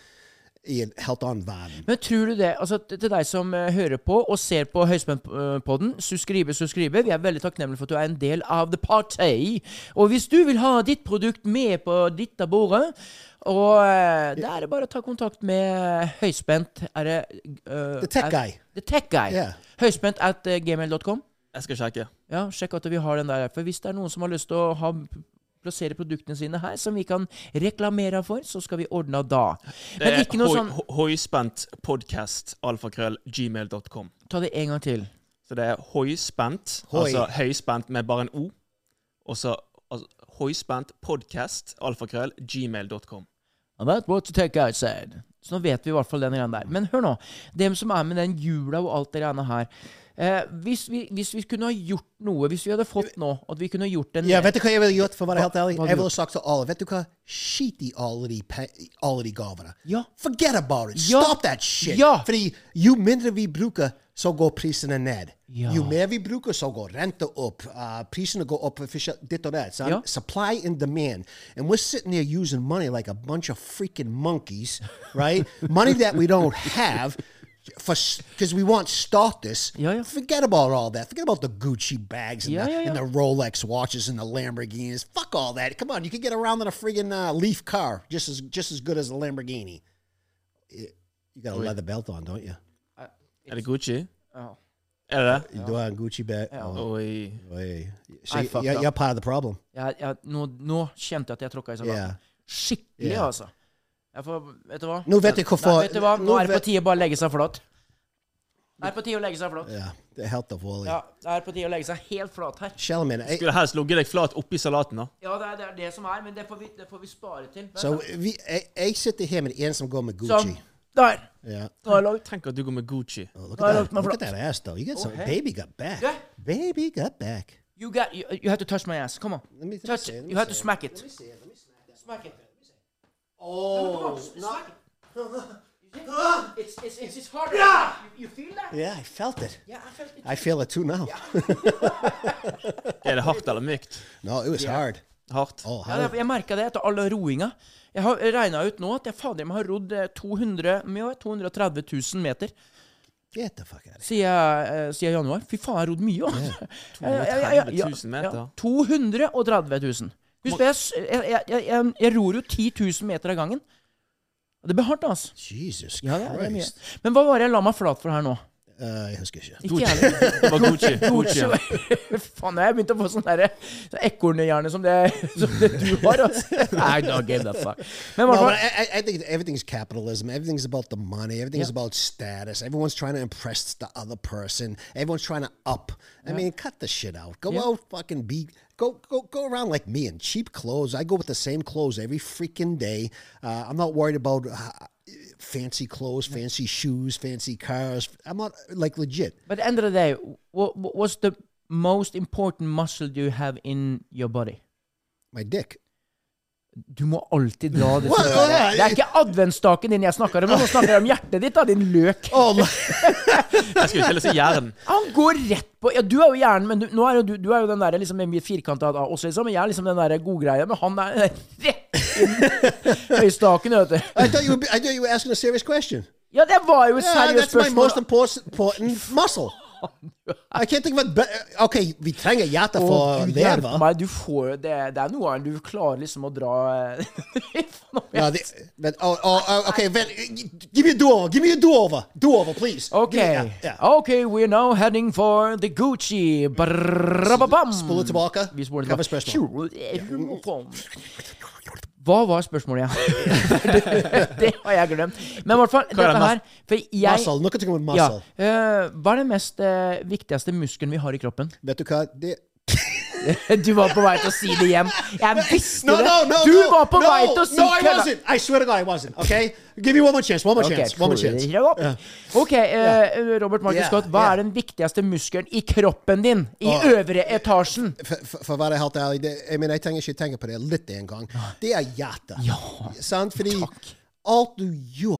S2: i en helt annen verden.
S1: Men tror du det Altså, t- til deg som eh, hører på og ser på Høyspentpodden, subscribe, subscribe. Vi er veldig takknemlige for at du er en del av the party. Og hvis du vil ha ditt produkt med på ditt av bordet, og eh, da er det bare å ta kontakt med Høyspent Er det eh,
S2: The tech
S1: er-
S2: guy.
S1: The Tech Guy.
S2: Ja.
S1: Høyspent at eh, gmail.com.
S3: Jeg skal sjekke.
S1: Ja, sjekk at vi har den der. For hvis det er noen som har lyst til å ha, plassere produktene sine her, som vi kan reklamere for, så skal vi ordne da.
S3: Det
S1: Men
S3: er
S1: ikke noe
S3: hoi-
S1: sånn
S3: ho- Høyspent podcast alfakrøll gmail.com.
S1: Ta det en gang til.
S3: Så det er høyspent,
S2: Hoi.
S3: altså høyspent med bare en O, og så altså, høyspent podcast alfakrøll gmail.com.
S1: And that's what the tech guy said. Så nå vet vi i hvert fall den greia der. Men hør nå. Dem som er med den jula og alt det greiene her. Eh, hvis, vi, hvis vi kunne ha gjort noe, hvis vi hadde fått nå at vi kunne gjort en
S2: Ja, vet du hva jeg ville gjort, for å være helt ærlig?
S1: hva hadde
S2: Jeg
S1: du
S2: ville sagt til alle, vet du hva? Skit i alle de, pe- i alle de gavene.
S1: Ja.
S2: Forget about it.
S1: Ja.
S2: Stop that shit.
S1: Ja.
S2: Fordi jo mindre vi bruker, så går prisene ned.
S1: Ja.
S2: Jo mer vi bruker, så går renta opp. Uh, prisene går opp forskjell- ditt og datt. sant?
S1: Ja.
S2: Supply and demand. And we're sitting there using money like a bunch of freaking monkeys, right? money that we don't have. because we want status.
S1: Yeah, yeah.
S2: Forget about all that. Forget about the Gucci bags and,
S1: Yeah,
S2: the,
S1: yeah,
S2: and
S1: yeah.
S2: the Rolex watches and the Lamborghinis. Fuck all that. Come on, you can get around in a friggin' uh, Leaf car just as just as good as a Lamborghini. It- you got a leather belt on, don't you?
S1: Eh,
S3: Er det Gucci?
S1: Oh.
S3: Er det det?
S2: You do have a Gucci bag. Oh,
S3: Oi.
S2: boy.
S1: I
S2: See,
S1: fucked
S2: you're,
S1: up.
S2: you're part of the problem.
S1: Jeg, jeg, nå, nå kjente jeg at jeg tråkka i salaten.
S2: Yeah.
S1: Skikkelig,
S2: Ja.
S1: altså. Jeg får, vet du hva?
S2: Nå vet jeg hvorfor-
S1: Nei, vet du hva? Nå
S2: nå
S1: er det
S2: vet-
S1: på tide å bare legge seg flat. Det er på tide å legge seg flat.
S2: Yeah. The health of Wally.
S1: Ja, det er på tide å legge seg helt flat her.
S2: Shellman. eh,
S3: Skulle helst ligget deg flat oppi salaten, da.
S1: Ja, det er det, er det som er, men det får vi, det får vi spare til. Vent
S2: Så
S1: da.
S2: vi, jeg, jeg sitter her med en som går med Gucci.
S1: Sånn. Der!
S2: Yeah.
S1: Nå har jeg lagd
S3: Tenk at du går med Gucci.
S2: Oh, look
S1: I
S2: at,
S1: looked
S2: that,
S1: my
S2: look
S1: fro-
S2: at that ass, though. You got some.
S1: Oh, hey.
S2: Baby got back.
S1: Yeah.
S2: Baby got back.
S1: You got you, you have to touch my ass. Come on.
S2: Let me- let me
S1: touch
S2: see it,
S1: it.
S2: let me
S1: You have to
S2: see it.
S1: smack it. Let me see it. Smack it. Oh, smack it. You see? It's, it's, it's, it's hard. You, you feel that?
S2: Yeah, I felt it.
S1: Yeah, I felt it.
S2: I feel it too now.
S3: Er det hardt eller mykt?
S2: no, it was hard.
S3: Hardt.
S2: Oh,
S1: Ja,
S2: hard.
S1: jeg- jeg merka det etter all roinga. Jeg har regna ut nå at jeg fader meg har rodd eh, 200, men jo, 230 000 meter
S2: Get the fuck out of
S1: siden, eh, siden januar. Fy faen, jeg har rodd mye. altså. Ja, ja, ja, ja,
S3: 230 000 meter.
S1: Ja, 230 000. Husk, jeg, s- jeg, jeg, jeg, jeg, jeg ror jo 10 000 meter av gangen. Det blir hardt, altså.
S2: here. Jesus
S1: Ja, det er, det er mye.
S2: Christ.
S1: Men hva var det jeg la meg flat for her nå?
S2: Uh, jeg husker ikke.
S1: Ikke jeg heller.
S3: Det var Gucci. Gucci.
S1: Faen, jeg begynte å få sånn derre sånn ekornhjerne som, det- som det du har, altså. I don't give a fuck. Men i
S2: No,
S1: hvert
S2: but
S1: fall
S2: I, I- I think everything's capitalism. Everything's about the money. Everything's about status. Everyone's trying to impress the other person. Everyone's trying to up. I mean, cut the shit out. Go
S1: Yeah.
S2: out, fucking be. Go go go around like me in cheap clothes. I go with the same clothes every freaking day. Uh, I'm not worried about uh, fancy clothes, fancy shoes, fancy cars. I'm not like legit.
S1: But at the end of the day, what, what's the most important muscle you have in your body?
S2: My dick.
S1: Du må alltid dra det
S2: Hva?
S1: til
S2: Å, ja,
S1: Det er ikke adventsstaken din jeg snakker om, nå snakker jeg om hjertet ditt, da, din løk.
S2: Oh, my-
S3: Jeg skulle til å si jern.
S1: Han går rett på Ja, du er jo hjernen, men du, nå er jo, du, du er jo den der liksom, med firkanta av oss, liksom. Men jeg er liksom den der godgreia, men han er rett inn i staken, vet du.
S2: I thought you. Were, I thought you were asking a serious question.
S1: Ja, det var jo et
S2: Yeah,
S1: seriøst
S2: that's my
S1: spørsmål.
S2: most important, important muscle. I can't think of it better. Okay, vi trenger hjerte
S1: Å,
S2: for å
S1: Gud hjelpe
S2: leve.
S1: meg, du får jo det, det er noe annet du klarer liksom å dra eh,
S2: No, the, but, oh, oh, oh, okay, Ven, give me a do-over. Give me a do-over. Do-over, please. Give me-
S1: Okay. Oh.
S2: yeah, yeah.
S1: Okay, we're now heading for the Gucci. Brababam.
S2: Spole tilbake.
S1: Vi spoler
S2: Hva var
S1: tilbake.
S2: spørsmålet?
S1: eh, Hva var spørsmålet, ja? det har jeg glemt. Men i hvert fall,
S3: er det
S1: dette her For jeg
S2: Muscle. Noe til med
S1: ja,
S2: muscle.
S1: eh, Hva er den mest eh, viktigste muskelen vi har i kroppen?
S2: Vet du hva? Det,
S1: Du var på vei til å si det igjen. Jeg visste
S2: no,
S1: det!
S2: no, no,
S1: du
S2: no,
S1: var på
S2: no,
S1: vei til å si
S2: No, I
S1: kødda.
S2: wasn't. I swear to God, I wasn't. Okay? Give me one more chance. One more
S1: Ok,
S2: chance. One more chance.
S1: prøv opp. Ok, eh, Robert Martin
S2: Ja,
S1: Scott, hva
S2: ja.
S1: er den viktigste muskelen i kroppen din? I
S2: Å.
S1: øvre etasjen?
S2: for, for, for å være helt ærlig, det, jeg mener, jeg trenger ikke tenke på det litt en gang. Det er hjertet.
S1: Ja.
S2: Sant? Fordi
S1: Takk.
S2: alt du gjør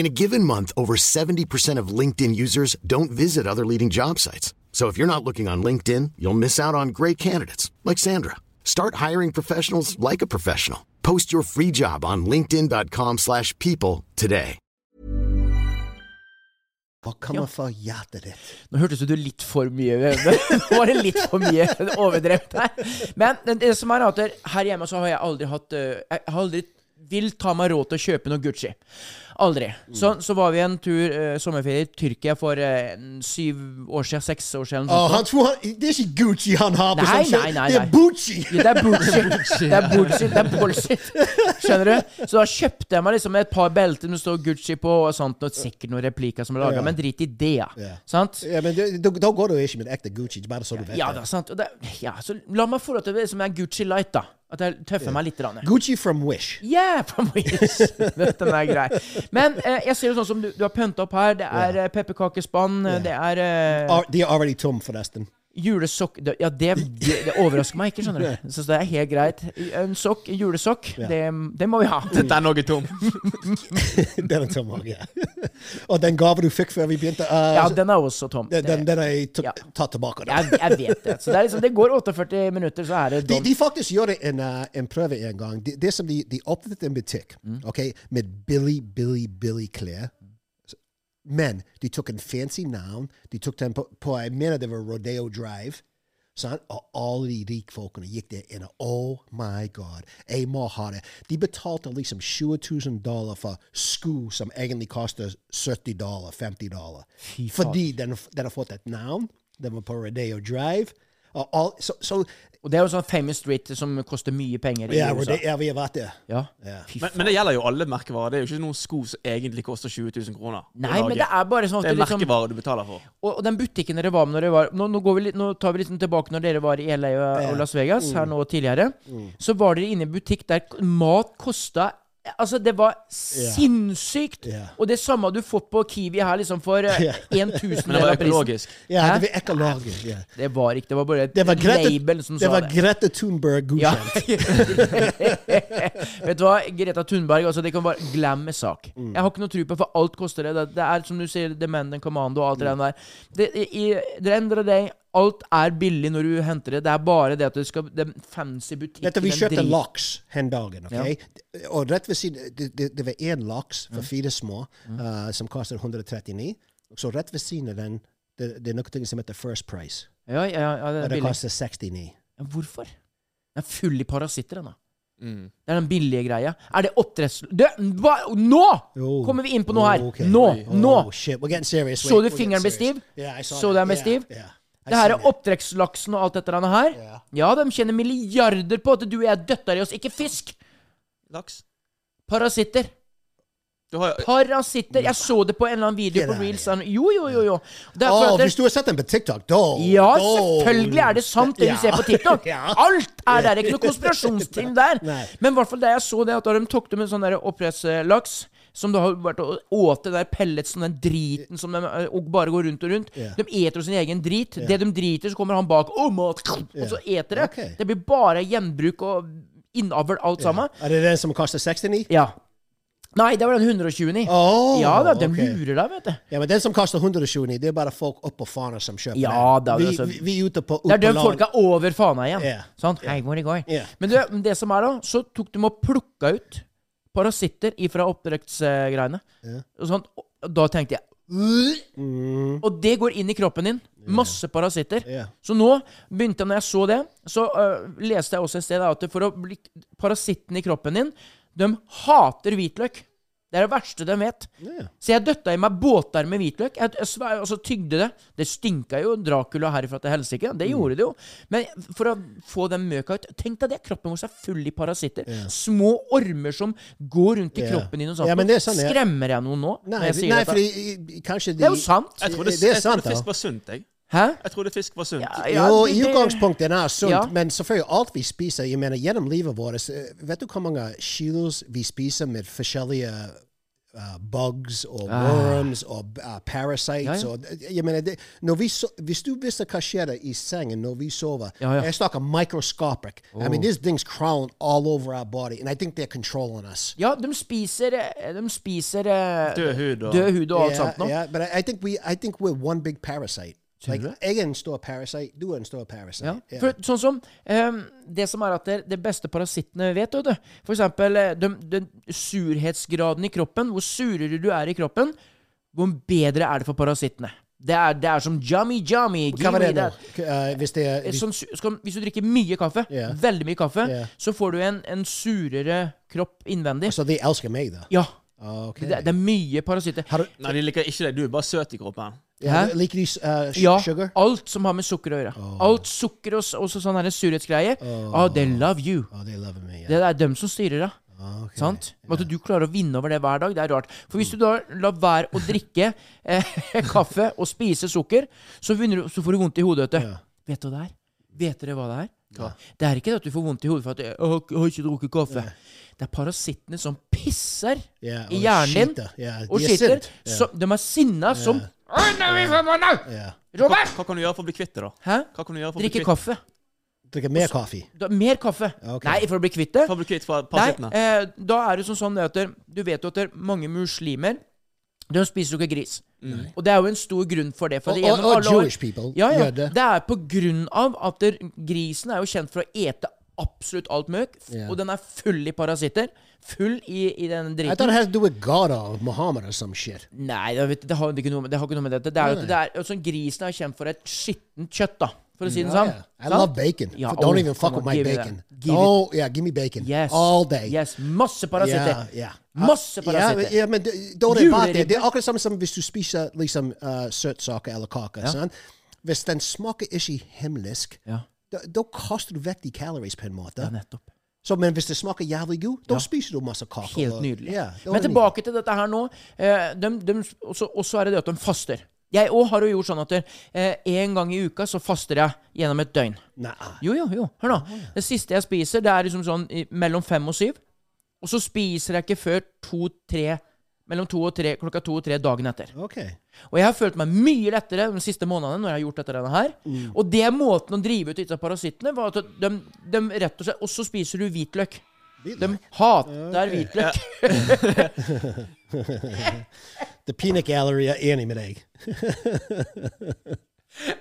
S4: In a given month, over 70% of LinkedIn users don't visit other leading job sites. So if you're not looking on LinkedIn, you'll miss out on great candidates like Sandra. Start hiring professionals like a professional. Post your free job on linkedin.com/people slash people today.
S2: Hva kommer fra hjertet ditt?
S1: Nå hørtes det ut litt for mye Nå var det litt for mye overdrevet her. Men det som er at her hjemme så har jeg aldri hatt eh, Jeg har aldri vil ta meg råd til å kjøpe noe Gucci. Aldri.
S2: Mm.
S1: Så, så var vi en tur eh, sommerferie i Tyrkia for eh, en syv år siden, seks år siden.
S2: Å,
S1: sånt
S2: han tror han, Det er ikke Gucci han har på
S1: Mm. Nei,
S2: sånn
S1: nei, nei,
S2: Det er
S1: nei.
S2: Bucci!
S1: ja, det er bullshit. Det er bullshit. Det er bullshit. Skjønner du? Så da kjøpte jeg meg liksom et par belter med det står Gucci på, og sånt, og sikkert noen replikker som er laga,
S2: Ja.
S1: men drit i det. ja.
S2: Ja.
S1: Sant?
S2: Ja, men det- da da går det jo ikke med ekte Gucci, bare så du vet
S1: Ja
S2: det.
S1: da, sant. Og det, ja, så la meg få lov til å være som en Gucci Light, da. At jeg tøffer meg litt. Rann.
S2: Gucci from Wish.
S1: Yeah, from Wheels. Den er grei. Men eh, jeg ser jo sånn som du, du har pynta opp her. Det er yeah. pepperkakespann, eh, det er eh,
S2: Ar- De er already tom, forresten.
S1: Julesokk det- Ja, det, det, det overrasker meg ikke, skjønner du. Så det er helt greit. En sokk, julesokk, det, det må vi ha.
S3: Dette er noe tom.
S2: den er tom også, ja. Og den gaven du fikk før vi begynte eh,
S1: Ja, den er også tom.
S2: den, den,
S1: Det-
S2: den er jeg t-
S1: Ja.
S2: tatt tilbake. Da.
S1: jeg, jeg vet det. Så det, er liksom, det går 48 minutter, så er det
S2: De,
S1: dom.
S2: de faktisk gjorde en, eh, en prøve en gang. Det det som de, de åpnet en butikk ok, med billig, billig, billig klær. Men de tok en fancy navn. De tok den på, på jeg mener det var Rodeo Drive. Sant? Og alle de rike folkene gikk der inne. Oh my god, jeg må ha det. De betalte liksom 20 000 dollar for sko som egentlig koster 70 dollar, 50 dollar. Fordi den, den har fått et navn. Den var på Rodeo Drive. Og all, så, så
S1: Og det er jo sånn famous street som koster mye penger i
S2: ja,
S1: USA.
S2: Rodeo, ja, vi har vært der.
S1: Ja.
S2: Ja.
S1: Fy
S3: Men, men det gjelder jo alle merkevarer. Det er jo ikke noen sko som egentlig koster 20 000 kroner. å
S1: Nei, men
S3: lage.
S1: det er bare sånn at
S3: Det er
S1: du liksom-
S3: merkevarer du betaler for.
S1: Og, og den butikken dere var med når dere var Nå, nå, går vi litt, nå tar vi litt sånn tilbake når dere var i LA og, og Las Vegas,
S3: Mm.
S1: her nå tidligere. Så var dere inne i en butikk der k- mat kosta Altså, det var sinnssykt!
S2: Ja.
S1: Og det samme du får på Kiwi her, liksom, for eh, en
S3: Men det
S1: tusendel
S3: var
S1: av prisen.
S3: økologisk.
S2: Ja,
S1: Hæ?
S2: det var ekologisk. Ja.
S1: Det var ikke Det var bare et
S2: Det var
S1: label
S2: Grete,
S1: som
S2: det
S1: sa
S2: var
S1: det.
S2: Grete Thunberg
S1: Ja.
S2: godkjent.
S1: Vet du hva, Greta Thunberg, altså, det kan være glem en sak.
S2: Mm.
S1: Jeg har ikke noe tro på for alt koster det. Det, det er som du sier, Demand and Commando og alt det
S2: Mm.
S1: der. Det, i, det endrer deg. Alt er billig når du henter det. Det er bare det at du skal Den fancy butikken
S2: Vet du, vi
S1: den
S2: kjøpte
S1: drit-
S2: laks den dagen. ok? Og rett ved siden Det, det, det var én laks for
S1: Mm.
S2: fire små eh, som kostet 139. Så rett ved siden av den det, det er noe som heter First Price.
S1: Ja, ja, ja, ja, det
S2: Og
S1: er
S2: det
S1: billig.
S2: koster 69.
S1: Ja, Hvorfor? Den er full i parasitter, den da.
S2: Mm.
S1: Det er den billige greia. Er det oppdretts... Du, hva? Nå
S2: Jo.
S1: kommer vi inn på noe her!
S2: Oh, Ok.
S1: Nå!
S2: Oi.
S1: Nå!
S2: Oh, shit. We're getting serious.
S1: Så du
S2: We're
S1: fingeren
S2: getting
S1: ble
S2: serious.
S1: stiv?
S2: Yeah, I saw
S1: Så den
S2: that.
S1: ble
S2: Yeah,
S1: stiv?
S2: yeah. I
S1: Det her
S2: saw
S1: er
S2: that.
S1: oppdrettslaksen og alt dette denne her.
S2: Ja.
S1: Ja, de tjener milliarder på at du og jeg døtter i oss, ikke fisk!
S3: Laks.
S1: Parasitter.
S3: Du har jo
S1: Parasitter. Jeg så det på en eller annen video
S2: Get
S1: på
S2: out
S1: reels.
S2: of
S1: han- Jo, jo, jo. jo. Det er for
S2: Åh,
S1: at det-
S2: hvis du har sett den på TikTok, da
S1: ja,
S2: da-
S1: selvfølgelig er det sant, det
S2: Ja.
S1: du ser på TikTok.
S2: Ja.
S1: Alt er der. Det er ikke noe konspirasjonsteam der.
S2: Nei.
S1: Men i hvert fall da jeg så det, at da de tok det med sånn der oppdrettslaks som da har vært og åt det der pellets, sånn den driten som de eh, og bare går rundt og rundt.
S2: Ja.
S1: De eter jo sin egen drit. Det de driter, så kommer han bak og mat, og så eter det.
S2: Ok.
S1: Det blir bare gjenbruk og innavl, alt sammen.
S2: Er det den som koster 69?
S1: Ja. Nei, det var den 129.
S2: Åh,
S1: ja da, de
S2: ok.
S1: lurer deg, vet du.
S2: Ja, men Den som koster 129, det er bare folk oppå Fana som kjøper
S1: Ja,
S2: den.
S1: da,
S2: vi,
S1: altså-
S2: vi, vi er ute på
S1: Det er de
S2: Oppland.
S1: folka over fana igjen.
S2: Ja.
S1: Sant? Hei, hvor det går.
S2: Ja.
S1: Men du, det som er da, så tok de og plukka ut parasitter ifra oppdrettsgreiene. Og sånn, og da tenkte jeg «Øh!» Og det går inn i kroppen din. Masse parasitter.
S2: Mm. Ja.
S1: Så nå begynte jeg, når jeg så det, så øh, leste jeg også et sted da, at for å bli parasittene i kroppen din De hater hvitløk. Det er det verste de vet.
S2: Ja.
S1: Så jeg døtta i meg båter med hvitløk, jeg, jeg, sver- og så tygde det. Det stinka jo Dracula herifra til helsike,
S2: Mm.
S1: det gjorde det jo. Men for å få den møka ut Tenk deg det, kroppen vår er full i parasitter. Små ormer som går rundt i
S2: Ja.
S1: kroppen din og sånt.
S2: Ja, men det er sånn, ja.
S1: Skremmer jeg noen nå?
S2: Nei,
S1: når jeg
S2: vi-
S1: sier
S2: nei
S1: dette?
S2: fordi i- i- kanskje de
S1: Det er jo sant.
S3: Jeg trodde,
S2: Det er
S3: jeg trodde
S2: sant, da.
S3: fisk var sunt, jeg.
S1: Hæ?
S3: Jeg trodde fisk var sunt.
S1: Ja,
S2: jo,
S1: det-
S2: i
S1: det-
S2: utgangspunktet er sunt,
S1: Ja.
S2: men selvfølgelig alt vi spiser jeg mener, Gjennom livet vårt eh, Vet du hvor mange kilos vi spiser med forskjellige eh, bugs og worms og eh, parasites?
S1: Ah. Ja, ja.
S2: Og, øh, jeg mener, det, når vi so hvis du visste hva skjer i sengen når vi sover
S1: Ja, ja. Oh.
S2: Jeg snakker microscopic. I mean, these things crawling all over our body, and I think they're controlling us.
S1: Ja, de spiser, eh, de spiser eh,
S3: Død hud og
S1: død hud og alt
S2: yeah,
S1: sånt nå.
S2: Yeah, but I, I think we I think we're one big parasite. Like
S1: du det?
S2: jeg er en stor parasite, du er en stor parasite.
S1: Ja.
S2: Yeah.
S1: For, sånn som ehm, Det som er at det, det beste parasittene vet, vet du. For eksempel eh, den, den surhetsgraden i kroppen. Hvor surere du er i kroppen, hvor bedre er det for parasittene. Det er, det er som jummy jummy.
S2: Hva var det nå?
S1: that.
S2: Eh, hvis det er
S1: Eh,
S2: hvis,
S1: Sånn, su- skal, hvis du drikker mye kaffe,
S2: Ja.
S1: veldig mye kaffe,
S2: Ja.
S1: så
S2: Altså,
S1: får du en, en surere kropp innvendig.
S2: Så de Oh, elsker Oh, meg, da?
S1: ja.
S2: Ok.
S1: Det, det er mye parasitter.
S2: Har du,
S3: Nei, de liker ikke deg. Du er bare søt i kroppen.
S2: ja,
S1: Hæ?
S2: liker de eh, su-
S1: Ja,
S2: sugar?
S1: alt som har med sukker å gjøre. Alt sukker og s- også sånne her surhetsgreier. Oh. they love you.
S2: Oh, they love me, yeah.
S1: Det er dem som styrer, da.
S2: Ok.
S1: Sant? At du klarer å vinne over det hver dag, det er rart. For hvis du da lar være å drikke eh, kaffe og spise sukker, så, begynner du, så får du vondt i hodet. Vet du. Vet du hva det er? Vet dere hva det er? Det er ikke det at du får vondt i hodet for at du «Å, jeg har ikke drukket kaffe. Det er parasittene som pisser
S2: Ja, og
S1: i hjernen din
S2: skiter. Ja,
S1: og
S2: de er
S1: skiter.
S2: sint. Ja.
S1: Så, de er sinna som «Å, nå er vi for måned!
S2: Ja.
S3: Hva,
S1: Robert!
S3: hva kan du gjøre for å bli kvitt det, da?
S1: Hæ?
S3: Hva kan du gjøre for å bli
S1: Drikke
S3: kvitt
S1: kaffe.
S2: Drikker mer kaffe.
S1: Da, mer kaffe.
S2: Ok.
S1: Nei, for å bli kvitt det.
S3: For å bli kvitt fra
S1: Nei,
S3: parasittene?
S1: eh, da er det sånn, sånn at der- du vet jo at der, mange muslimer de spiser jo ikke gris. Og det er jo en stor grunn for det. For
S2: Mm. Og-
S1: det gjennom
S2: og- og
S1: alle år-
S2: Jewish people
S1: ja, ja,
S2: gjør det.
S1: Det er på grunn av at der, grisen er jo kjent for å ete absolutt alt møkk, f-
S2: Ja.
S1: og den er full i parasitter. Full i, i den
S2: I thought it
S1: driten.
S2: had to do with God or Muhammad or some shit.
S1: Nei, det, vet, det, har, det, er ikke noe med, det har ikke noe med dette det er, jo at det er, altså, Grisen er kjent for et skittent kjøtt, da, for å si det sånn.
S2: Oh, Yeah. I
S1: Sant?
S2: love bacon.
S1: Ja,
S2: F- Don't
S1: oh,
S2: even fuck
S1: come
S2: with
S1: on,
S2: my
S1: give me that.
S2: bacon.
S1: Give it.
S2: Oh, yeah, give me bacon.
S1: Yes.
S2: All day.
S1: Yes, Masse
S2: Ja,
S1: parasitter.
S2: ja.
S1: Masse
S2: Ja,
S1: parasitter.
S2: men- ja, Ah, men det- da det var
S1: Juleribbe.
S2: det. Det er akkurat samme som hvis du spiser liksom eh, søtsaker eller kaker. sant? Hvis den smaker ikke himmelsk,
S1: Ja.
S2: da, da kaster du vekk de calories på en måte.
S1: Ja, nettopp.
S2: Så, men hvis det smaker jævlig god, da spiser du masse kaker.
S1: Helt
S2: og-
S1: nydelig.
S2: Ja, da er
S1: Men
S2: det
S1: tilbake til dette her nå. Eh, dem- dem- også, også er det det at de faster. Jeg òg har jo gjort sånn at eh, en gang i uka så faster jeg gjennom et døgn.
S2: nydelig. Nei. ah.
S1: Jo, jo, jo. Hør nå. Det siste jeg spiser, det er liksom sånn i- mellom fem og syv. Og så spiser jeg ikke før to-tre mellom to og tre, klokka to og tre dagen etter.
S2: Ok.
S1: Og jeg har følt meg mye lettere de siste månedene når jeg har gjort dette her.
S2: Mm.
S1: Og det er måten å drive ut disse parasittene var at de, de rett og slett Og så spiser du hvitløk. De hater hvitløk.
S2: The peanut gallery er enig med deg.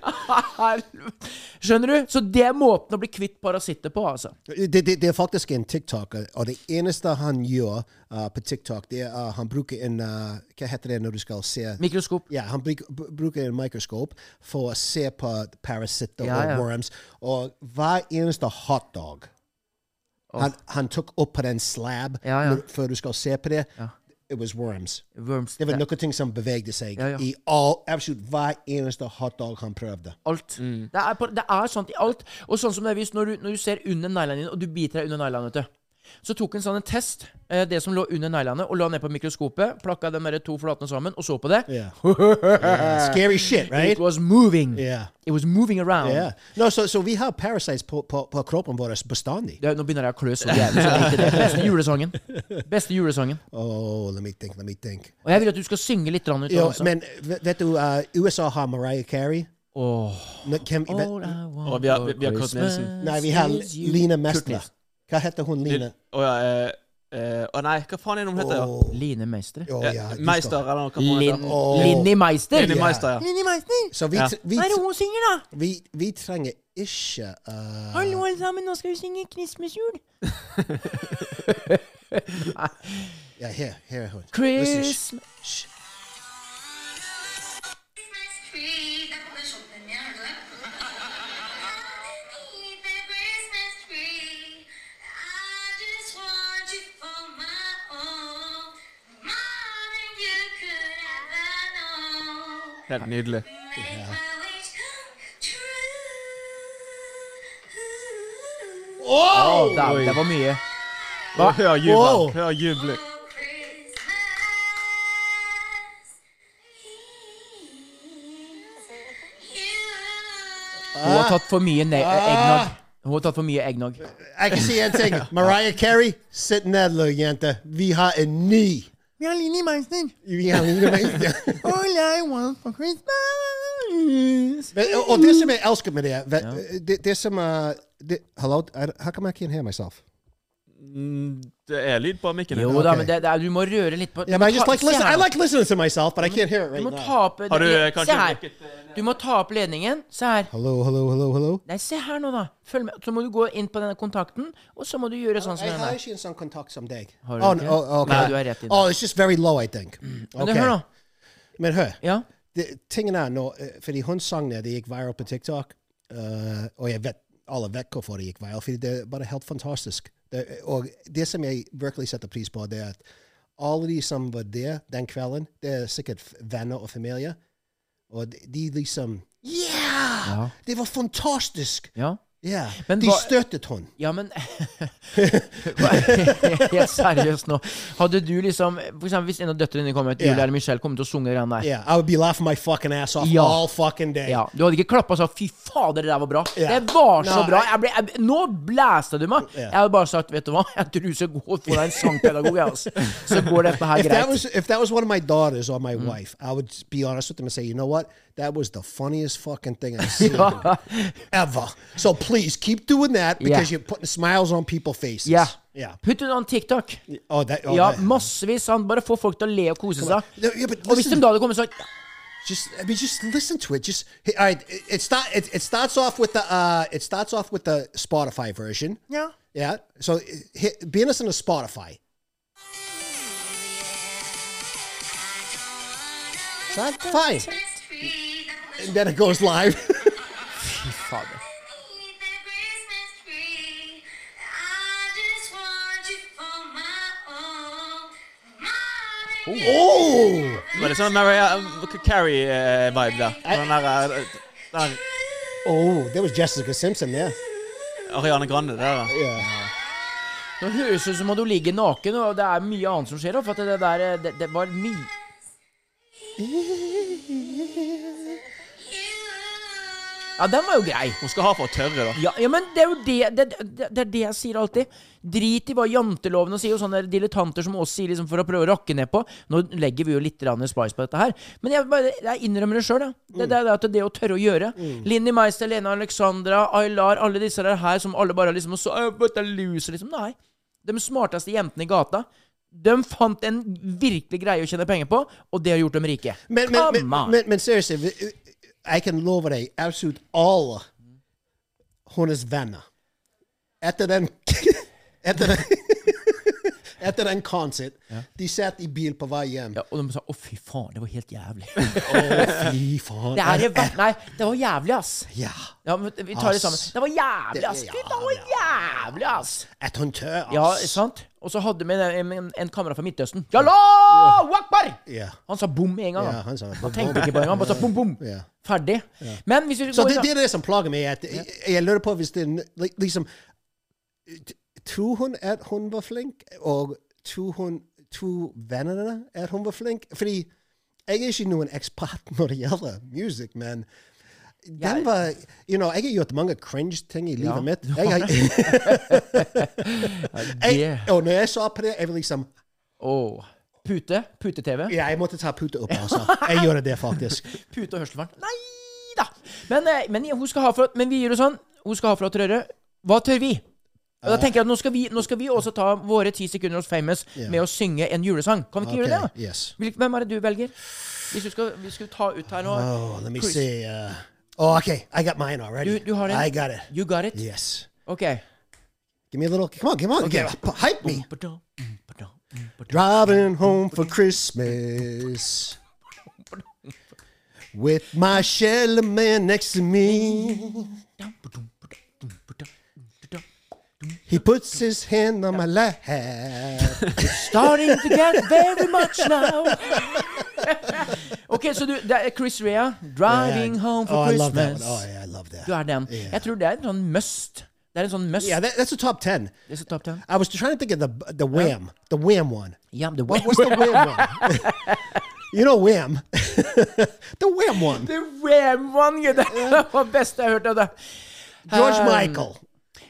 S1: Helvete. Skjønner du? Så det er måten å bli kvitt parasitter på, altså.
S2: Det, det, det er faktisk en TikToker, og det eneste han gjør eh, på TikTok, det er uh, han bruker en eh, Hva heter det når du skal se
S1: Mikroskop.
S2: Ja, han bruk, br- bruker en mikroskop for å se på parasitter
S1: Ja, ja.
S2: og worms. Og hver eneste hotdog han, han tok opp på den slab
S1: Ja, ja.
S2: når- før du skal se på det. It was worms.
S1: Worms.
S2: Det var noen som bevegde seg
S1: Ja, ja.
S2: i all, absolutt hver eneste hotdog han prøvde.
S1: Alt. Det, er, par- det er sånt i alt. Og sånn som det er vist når du, når du ser under neglene dine, og du biter deg under neglene, vet du. Så tok en sånn en test, eh, det som lå under neglene, og la ned på mikroskopet. Plakka de der to flatene sammen, og så på det.
S2: Yeah. Yeah, Scary shit, right?
S1: It was moving.
S2: Yeah.
S1: It was moving around.
S2: Yeah. No, så så vi har parasites på, på, på kroppen vår bestandig.
S1: Det, nå begynner jeg å klø så jævlig. Så lite. det er beste julesangen. Beste julesangen.
S2: Oh, let me think, let me think.
S1: Og jeg vil at du skal synge litt grann ut av
S2: Jo,
S1: den også.
S2: men v- vet du, uh, USA har Mariah Carey. Nå, hvem- vet-
S1: All I want
S3: Og vi har-
S1: for
S3: vi- vi har Kurt
S1: Christmas
S3: Nielsen.
S2: nei, vi har
S1: is you.
S2: Lina
S1: Kurt
S2: Mestler.
S1: Nielsen.
S2: Hva heter hun, Lina?
S3: Å ja, eh, eh, å nei, hva faen er det hun heter? da?
S1: Line Meister.
S2: Oh,
S3: Eh,
S2: ja, du skal-
S3: Meister, eller hva faen
S1: Lin,
S3: heter hun?
S2: Åh.
S1: Linni Meister.
S3: Linni Meister, ja.
S1: Linni Meister.
S2: Så vi,
S3: Ja.
S2: tr- vi,
S1: Hva er det
S2: tr-
S1: hun synger, da?
S2: vi, vi trenger ikke uh,
S1: Hallo, alle sammen, nå skal vi synge Christmasjul.
S2: Ja, her, her er hun. Listen, sh-
S1: Christmas
S3: Helt nydelig.
S1: Å,
S2: Oh,
S1: dæven, det var mye.
S3: Hva? Hør
S2: Wow.
S3: jubelen. Hør jubelen.
S1: Hun
S2: Ah.
S1: har tatt for mye ne eggnog. Hun har tatt for mye eggnog.
S2: Jeg kan si en ting. Mariah Carey, sitt ned, lille jente. Vi har en ny.
S1: Vi har Linni Meister.
S2: Vi har Lina Meister.
S1: All I want for Christmas
S2: Men, og, og det som jeg elsker med det, vet, det, det som uh, det, Hallo, er, how come I can't hear myself?
S3: Det er lyd på mikken.
S1: Jo
S3: her.
S1: da, men det, det er, du må røre litt på
S2: Yeah,
S1: du må
S2: but I just
S1: ta-
S2: like
S1: se
S2: listen.
S1: her
S2: I
S1: nå.
S2: like listening to myself, but I can't hear it right
S1: Du må
S2: now.
S1: ta opp
S3: Har du, eh, kanskje
S1: Se her.
S3: rukket, eh,
S1: Du må ta opp ledningen. Se her.
S2: Hello, hello, hello, hello.
S1: Nei, se her nå, da. Følg med. Så må du gå inn på denne kontakten, og så må du gjøre sånn som
S2: I
S1: den
S2: har
S1: der.
S2: ikke en sånn kontakt som deg.
S1: Har du
S2: oh,
S1: ikke?
S2: no, oh, okay.
S1: Nei, du er rett i det.
S2: Oh, it's just very low, I think.
S1: Men
S2: Okay.
S1: hør nå.
S2: Men hør.
S1: Ja.
S2: det, tingen er nå, eh, fordi hun sang det, det gikk viral på TikTok, eh, og jeg vet, alle vet hvorfor det gikk viral, fordi det er bare helt fantastisk. Det, og det som jeg virkelig setter pris på, det er at alle de som var der den kvelden, det er sikkert f- venner og familie, og de, de liksom, yeah!
S1: Ja.
S2: Det var fantastisk!
S1: Ja.
S2: Ja,
S1: Men
S2: de
S1: hva-
S2: støttet hun.
S1: Ja, men Helt seriøst nå. Hadde du liksom For eksempel hvis en av døtrene dine kom ut,
S2: Ja.
S1: Julie eller Michelle, kom til å sunge greiene der.
S2: Yeah, I would be laughing my fucking ass off
S1: Ja.
S2: all fucking day.
S1: Ja, Du hadde ikke klappa og sagt 'fy fader, det der var bra'.
S2: Ja.
S1: Det var så
S2: Nei.
S1: bra. Jeg ble, jeg, nå blæsta du meg.
S2: Ja.
S1: Jeg hadde bare sagt 'vet du hva, jeg tror du skal gå og få deg en sangpedagog', jeg, altså. Så går dette her
S2: If that
S1: greit.
S2: was if that was one of my daughters or my wife, I would be honest with them and say, you know what, that was the funniest fucking thing I've seen ever. So please keep doing that because
S1: Yeah.
S2: you're putting smiles on people's faces.
S1: Ja.
S2: yeah.
S1: Putt ut en TikTok.
S2: Oh, that. Oh,
S1: Ja,
S2: that-
S1: massevis. Han bare får folk til å le og kose seg.
S2: No, yeah, but
S1: Og hvis de
S2: listen-
S1: da hadde kommet sånn
S2: just I mean, just listen to it. Just all right. It, it start. It, it starts off with the. Uh, it starts off with the Spotify version.
S1: Ja.
S2: Yeah. So hit, be listening to Spotify. Not fine. And then it goes live.
S1: Fy fader.
S2: oh,
S3: Var det sånn Mariah uh, Carey-vibe der? Den der, eh, den der
S2: oh, there was Jessica Simpson there.
S3: Ariane Grande der, da.
S2: Yeah.
S1: Nå høres det ut som at hun ligger naken, og det er mye annet som skjer. da, For at det der eh, Det, det var mye Ja, den var jo grei.
S3: Hun skal ha for å tørre, da.
S1: Ja, ja, men det er jo det det, det det er det jeg sier alltid. Drit i hva jantelovene sier, og sånne dilettanter som oss sier liksom for å prøve å rakke ned på. Nå legger vi jo litt grann spice på dette her, men jeg, bare, jeg innrømmer det sjøl.
S2: Mm.
S1: Det, det er det at det å tørre å gjøre. Linni Meister, Lena Alexandra, Aylar, alle disse der her som alle bare liksom og så, «Øh, but they're loser, liksom. Nei. De smarteste jentene i gata. De fant en virkelig greie å tjene penger på, og det har gjort dem rike.
S2: Men, men, men,
S1: Come on.
S2: men, men seriously, vi- jeg kan love deg absolutt alle hennes venner etter den etter den, etter den konsert De satt i bil på vei hjem.
S1: Ja, og de sa 'å, fy faen, det var helt jævlig'.
S2: Fy faen.
S1: Det her er verdt Nei, det var jævlig, ass.
S2: Ja.
S1: Ja, men vi tar det
S2: Ass.
S1: sammen. Det var jævlig, ass!
S2: Det-
S1: Fy, Det var jævlig, ass!
S2: At hun tør,
S1: Ja,
S2: ass.
S1: sant? Og så hadde vi en, en, en kamerat fra Midtøsten. Jalla! Wakbar!
S2: Ja.
S1: Han sa bom med en gang.
S2: Ja, han sa bom,
S1: tenkte
S2: bom.
S1: ikke på det engang. Bare sa bom, bom.
S2: Ja.
S1: Ferdig. Men hvis vi
S2: Så
S1: går
S2: det,
S1: inn-
S2: det er det som plager meg. At jeg, jeg lurer på hvis det er n- li- liksom t- Tror hun at hun var flink? Og tror hun tror vennene at hun var flink? Fordi jeg er ikke noen ekspert når det gjelder musikk, men den var you know, Jeg har gjort mange cringe ting i livet mitt. Jeg, har- jeg, og når jeg så på det, jeg var liksom
S1: Åh. Pute. Pute-TV.
S2: Ja, jeg måtte ta puta opp, altså. Jeg gjorde det, faktisk.
S1: Pute og hørselvern. Nei da! Men, eh, men, hun skal ha for, men vi gjør det sånn. Hun skal ha for å trøre. Hva tør vi? Og da tenker jeg at nå skal, vi, nå skal vi også ta våre ti sekunder hos Famous
S2: Ja.
S1: med å synge en julesang. Kan vi ikke gjøre det?
S2: Okay,
S1: da?
S2: yes.
S1: Hvil- Hvem er det du velger? Hvis du skal, vi skal ta ut her nå
S2: Oh, let me
S1: Chris,
S2: see. Uh, oh, okay. I got mine already.
S1: You- you had it?
S2: I got it.
S1: You got it?
S2: Yes.
S1: OK.
S2: Give me a little. Come on, come on.
S1: Okay.
S2: Give- hype me.
S1: Ba-dum, mm, ba-dum, ba-dum. mm,
S2: Driving home for Christmas with my Shelly man next to me. He puts his hand on my lap.
S1: Starting to get very much now. OK, så du, det er Chris Rea, 'Driving Home for
S2: oh, I love that one.
S1: Christmas'.
S2: Oh, yeah, I love that.
S1: Du er den. Jeg tror det er en sånn must. Det er en sånn must.
S2: Yeah, that, that's a top ten.
S1: Det er så top ten.
S2: I was trying to think of the the Wham, the Wham one.
S1: Ja, men det
S2: What was the Wham one? you know Wham. the Wham one.
S1: The Wham One, gud. Det var det beste jeg har hørt av det.
S2: George
S1: Um,
S2: Michael.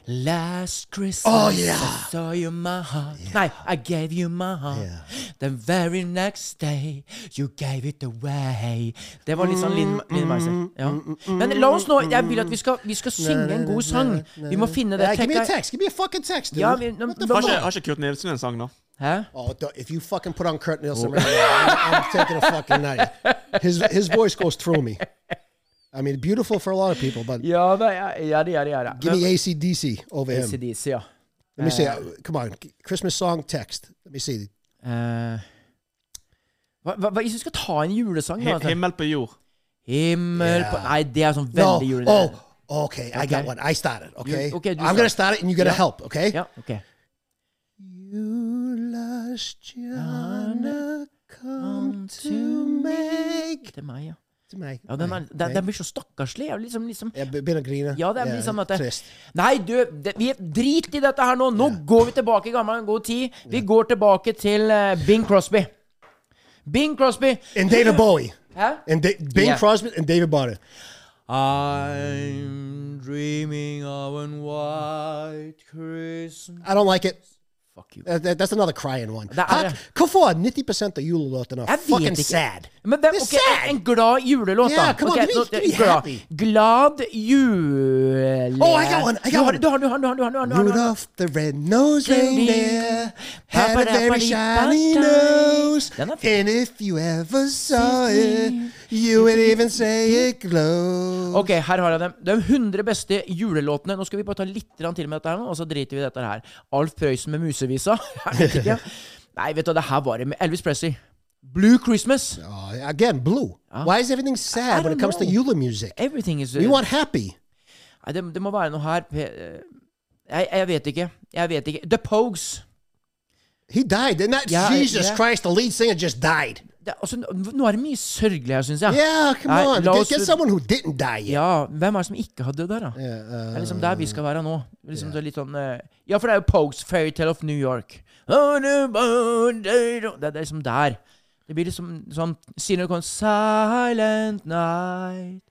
S1: Last Christmas
S2: Oh, yeah.
S1: I saw you my heart. Nei, I gave you my heart.
S2: Yeah.
S1: The very next day you gave it away. Det var litt sånn Linn Linn
S2: Mm,
S1: Meister. Ja. Men la oss nå Jeg vil at vi skal, vi skal synge en
S2: mm,
S1: god sang. Vi må finne det
S2: Yeah, give me a
S1: trekket.
S2: text. Give me a fucking text, dude.
S1: Ja, vi-
S2: What the
S1: Hva
S3: Har
S2: fuck?
S3: ikke, har ikke Kurt Nilsen en sang nå?
S1: Hæ?
S2: Oh, duh, if you fucking put on Kurt
S1: Oh.
S2: Nielsen right now, I'm, I'm taking a fucking night. His his voice goes through me. I mean, beautiful for a lot of people, but
S1: Ja da, ja, ja, ja, ja, ja.
S2: give me ACDC over him.
S1: ACDC, ja.
S2: Let
S1: Ah.
S2: me see. uh, Come on, Christmas song text. Let me see.
S1: Eh, Hva, hva, hva- hvis du skal ta en julesang, da?
S3: Him-
S1: Altså.
S3: Himmel på jord.
S1: Himmel på
S2: Yeah.
S1: Nei, det er sånn
S2: No.
S1: veldig julete.
S2: Oh, okay. I got
S1: Okay.
S2: one. I started. Okay.
S1: okay, do
S2: I'm going
S1: start.
S2: to start it and you're going to
S1: Yeah.
S2: help. Okay.
S1: Ja, ok.
S2: You last Jana come to make.
S1: Til meg, ja.
S2: To make.
S1: ja den, er, den, den blir så stakkarslig. Jeg, liksom, liksom.
S2: Jeg be- begynner å grine.
S1: Ja, det er liksom at det,
S2: Trist.
S1: Nei, du, det, vi drit i dette her nå. Nå går vi tilbake i gammel god tid. Vi går tilbake til eh, Bing Crosby. Bing Crosby.
S2: And David Bowie.
S1: Hæ?
S2: And da- Bing
S1: Yeah.
S2: Crosby and David Bowie.
S1: I'm dreaming of a white Christmas
S2: I don't like it.
S1: Fuck you.
S2: That, that- that's another crying one.
S1: Det er-
S2: How- Hvorfor er 90 av julelåtene
S1: Jeg vet
S2: fucking
S1: ikke.
S2: sad?
S1: Men det,
S2: They're
S1: ok, en- En glad julelåt, da.
S2: Yeah, come on,
S1: Ok,
S2: give me-
S1: nå-
S2: give me
S1: glad.
S2: happy.
S1: Glad jule...
S2: Oh, I got one, I got
S1: du har,
S2: one.
S1: Du har, du har, du har, du har, du har, du har, du har.
S2: Rudolph the Red-Nosed Reindeer had a very shiny nose.
S1: Den er fin.
S2: And if you ever saw it, you would even say it glows.
S1: Ok, her har jeg dem. De 100 beste julelåtene. Nå skal vi bare ta litt grann til med dette her nå, og så driter vi i dette her. Alf Prøysen med musevisa. Jeg vet ikke. Nei, vet du, hva, det her var det med Elvis Presley. Blue Christmas.
S2: Uh, again, blue. Why is everything sad when
S1: don't
S2: it comes to
S1: know.
S2: Yule music?
S1: Everything is
S2: We want happy.
S1: Nei, det, det må være noe her Pe- eh, Jeg, jeg vet ikke. Jeg vet ikke. The Pogues.
S2: He died, didn't that?
S1: Yeah,
S2: Jesus
S1: yeah.
S2: Christ, the lead singer just died.
S1: Det, er- altså, n- nå er det mye sørgelig her, syns jeg.
S2: Yeah, come
S1: Nei,
S2: on.
S1: la
S2: Get,
S1: oss-
S2: get someone who didn't die yet. Uh,
S1: Ja, hvem er det som ikke har dødd her, da?
S2: Eh,
S1: det er liksom der vi skal være nå. Liksom det er litt sånn eh, Ja, for det er jo Pogues Fairytale of New York. Det, det er liksom der. Det blir liksom sånn Siden det kom Silent Night,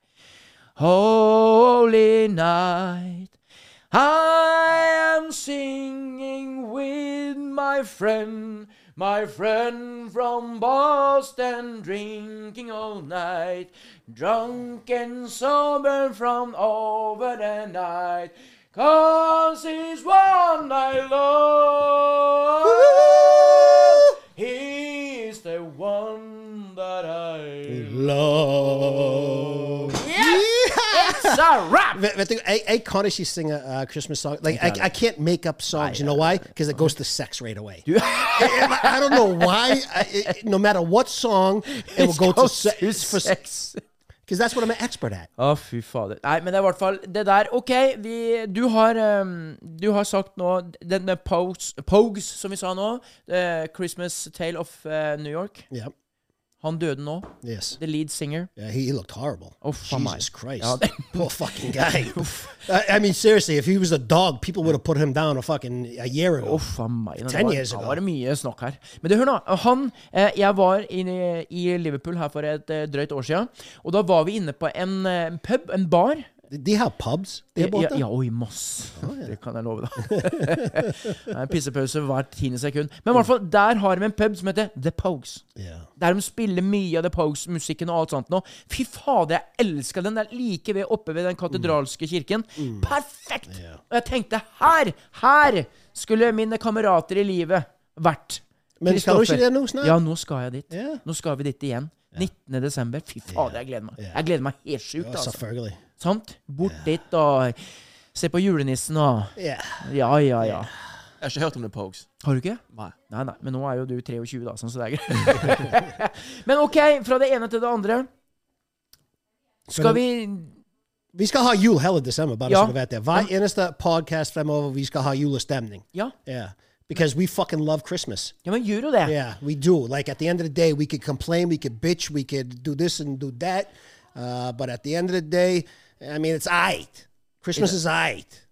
S1: Holy Night I am singing with my friend, my friend from Boston, drinking all night, drunk and sober from over the night, cause he's one I love. He's the one that I
S2: Love.
S1: It's a rap!
S2: Vet, vet du, jeg, jeg kan ikke synge uh, Christmas song. Like, I, I can't make up songs. You know why? Because it goes to sex right away. I, I don't know why. I, it, no matter what song, it will go to Oh. se-
S1: It's
S2: for se- Because that's what I'm an expert at.
S1: Å, fy fader. Nei, men det er i hvert fall det der. OK, vi, du, har, ehm, du har sagt nå den med Pogues, Pogues, som vi sa nå. eh, 'Christmas Tale of eh, New York'.
S2: Yeah.
S1: Han døde nå.
S2: Yes.
S1: The lead singer.
S2: Yeah, he, he looked horrible.
S1: Oh, fuck my-
S2: Jesus Christ.
S1: Yeah.
S2: Poor fucking guy. I, I mean, seriously, if he was a dog, people would have put him down a fucking a year ago.
S1: Uff a meg. Det
S2: Ten
S1: var,
S2: years
S1: da
S2: ago.
S1: var det mye snakk her. Men du, hør nå. Han eh, Jeg var inne i Liverpool her for et eh, drøyt år siden. Og da var vi inne på en eh, pub, en bar.
S2: Did they have pubs? They
S1: Ja,
S2: bought
S1: ja,
S2: them?
S1: ja, oi, masse. Det kan jeg love, da. Det er en pissepause hvert tiende sekund. Men i hvert fall, der har de en pub som heter The Pogues.
S2: Yeah.
S1: Der de spiller mye av The Pogues-musikken og alt sånt nå. Fy fader, jeg elsker den! Det er like ved oppe ved den
S2: Mm.
S1: katedralske kirken. Perfekt! Og jeg tenkte her! Her skulle mine kamerater i livet vært.
S2: Men skal du ikke
S1: Kristoffer.
S2: det nå snart?
S1: Ja, nå skal jeg dit.
S2: Ja.
S1: Nå skal vi dit igjen. 19. desember. Fy fader, jeg gleder meg. Jeg gleder meg helt sjukt.
S2: Oh, so
S1: Altså.
S2: Fergie.
S1: Sant? Bort dit og se på julenissen og
S2: Yeah.
S1: Ja, ja, ja.
S3: Jeg har ikke hørt om The Pogues.
S1: Har du ikke?
S3: Nei.
S1: Nei, nei, men nå er jo du 23, da, sånn, så det er greit. men OK, fra det ene til det andre. Skal vi
S2: Vi skal ha jul hele desember, bare
S1: Ja.
S2: så du vet det. Hver eneste podcast fremover, vi skal ha julestemning.
S1: Ja,
S2: Yeah. Because we fucking love Christmas.
S1: ja men gjør jo det.
S2: Yeah, we do. Like at the end of the day, we could complain, we could bitch, we could do this and do that. Uh, but at the end of the day, I mean, it's aight. Christmas is aight.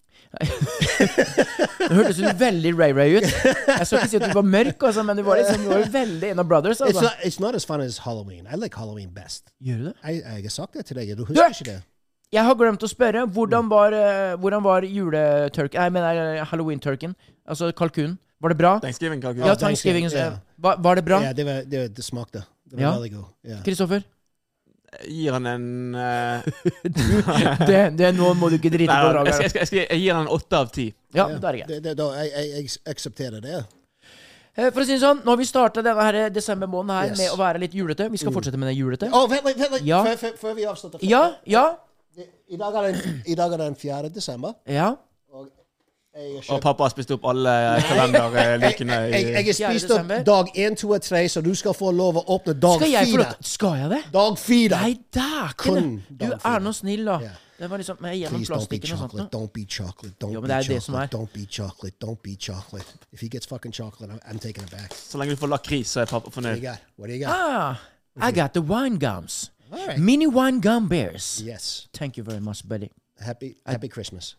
S1: Det hørtes jo veldig Ray-Ray ut. Jeg skal ikke si at du var mørk, altså, men du var liksom du var jo veldig en av brothers.
S2: It's
S1: Altså.
S2: not, it's not as fun as Halloween. I like Halloween best.
S1: Gjør du det?
S2: I, I sa det til deg. Du
S1: Du!
S2: husker ikke det?
S1: Jeg har glemt å spørre. Hvordan var, eh, hvordan var juleturken Nei, men eh, halloween-turken? Altså kalkunen. Var det bra?
S3: Den skriver en kalkun.
S1: Ja, thanksgiving.
S2: ja.
S1: Var, var det bra?
S2: Ja, det, var, det, var, det smakte. Det var
S1: Ja.
S2: veldig god. Ja.
S1: Kristoffer?
S3: Jeg Gir han en eh,
S1: Det, det, nå må du ikke drite
S3: Nei,
S1: på
S3: jeg, skal,
S1: draget.
S3: jeg, skal, jeg, skal, jeg gir han en åtte av ti.
S1: Ja, det er greit.
S2: Det, det, da, jeg, jeg, jeg aksepterer det.
S1: Eh, For å si det sånn, nå har vi starta denne her desembermåneden her
S2: Yes. Mm.
S1: med å være litt julete. Vi skal fortsette med det julete.
S2: Å, vent litt! vent litt.
S1: Ja.
S2: Før- før- Før vi avslutter.
S1: Ja, ja,
S2: I dag er den, i dag er den 4. desember.
S1: ja.
S2: Og Jeg har
S5: Og
S2: kjøpt-
S5: pappa har spist opp alle
S3: eh,
S5: kalenderlykene
S2: jeg,
S5: i
S2: jeg, jeg er
S1: Fjerde
S2: spist opp
S1: desember.
S2: dag én, to og tre, så du skal få lov å åpne dag
S1: Skal jeg få
S2: fire.
S1: lov til Skal jeg det?
S2: Dag fire!
S1: Nei, dæken!
S2: Kun
S1: Du
S2: dag
S1: er
S2: fire.
S1: nå snill, da.
S2: Ja.
S1: Det var liksom eh, gjennom
S2: Please don't be
S1: plastikken og sånt.
S2: chocolate.
S1: nå.
S2: Don't be chocolate. Don't
S1: Jo, men
S2: be
S1: det er jo det som
S2: chocolate.
S1: er.
S2: Don't be chocolate. Don't be chocolate. If he gets fucking chocolate, I'm, I'm taking it back. What
S5: Så lenge du får lakris, så er pappa
S2: do you
S5: fornøyd.
S2: got? What do you got?
S1: Ah, I got the wine gums.
S2: Mm-hmm. All right.
S1: Mini wine gum bears.
S2: Yes.
S1: Thank you very much, buddy.
S2: Happy Happy Christmas.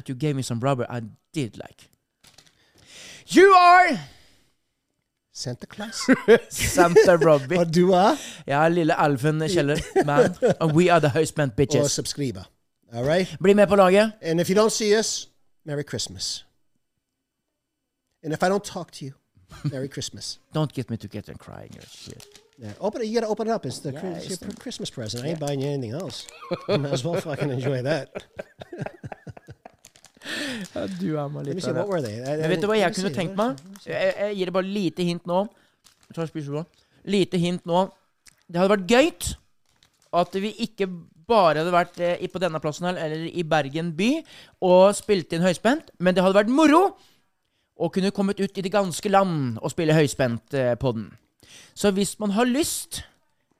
S1: But you gave me some rubber I did like. You are
S2: Santa Claus.
S1: Santa Robbie.
S2: Og du er?
S1: Jeg er lille alfen Kjeller. Man. And we are the houseman
S2: Og
S1: bitches.
S2: subscriber. All right?
S1: Bli med på laget.
S2: And if you don't see us, Merry Christmas. And if I don't talk to you, Merry Christmas.
S1: Don't get me to get and crying or shit.
S2: Yeah, open it. You got to open it up. It's the Chris-
S1: it's
S2: your Christmas present. I ain't buying you anything else. Might as well fucking enjoy that.
S1: Du er meg
S2: Let me see. What were they? I- I
S1: Men vet
S2: didn't-
S1: du hva
S2: let
S1: jeg
S2: me
S1: kunne
S2: see,
S1: tenkt
S2: what-
S1: meg? Jeg, jeg gir det bare lite hint nå. Jeg tar spisebordet. Lite hint nå. Det hadde vært gøyt at vi ikke bare hadde vært eh, i- på denne plassen her, eller i Bergen by og spilt inn høyspent, men det hadde vært moro å kunne kommet ut i det ganske land og spille høyspent eh, på den. Så hvis man har lyst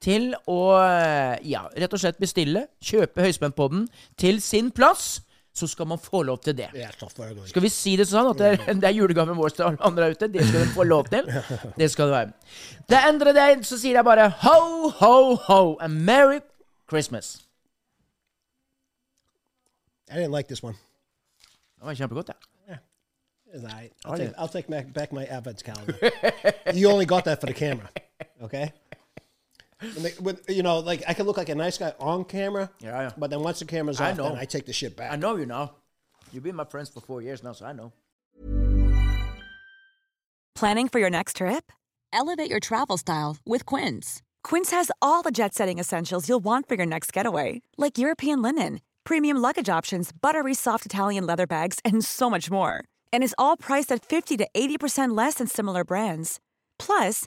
S1: til å eh, ja, rett og slett bestille, kjøpe høyspent på den til sin plass, så skal man få lov til det.
S2: Yeah, tough. We're going.
S1: Skal vi si det sånn at det er, det er julegaven vår til alle andre der ute? Det skal de få lov til. Det skal det være. Det endrer det, så sier jeg bare ho, ho, ho, and merry Christmas.
S2: I didn't like this one.
S1: Det var kjempegodt, det.
S2: All right. I'll,
S1: Okay.
S2: take, I'll take back, back my advent calendar. you only got that for the camera, okay? When they, when, you know, like I can look like a nice guy on camera,
S1: Yeah, yeah.
S2: but then once the camera's
S1: I
S2: off,
S1: know.
S2: then I take the shit back.
S1: I know you now. You've been my friends for four years now, so I know.
S3: Planning for your next trip?
S6: Elevate your travel style with Quince.
S3: Quince has all the jet setting essentials you'll want for your next getaway, like European linen, premium luggage options, buttery soft Italian leather bags, and so much more. And is all priced at 50 to 80% less than similar brands. Plus,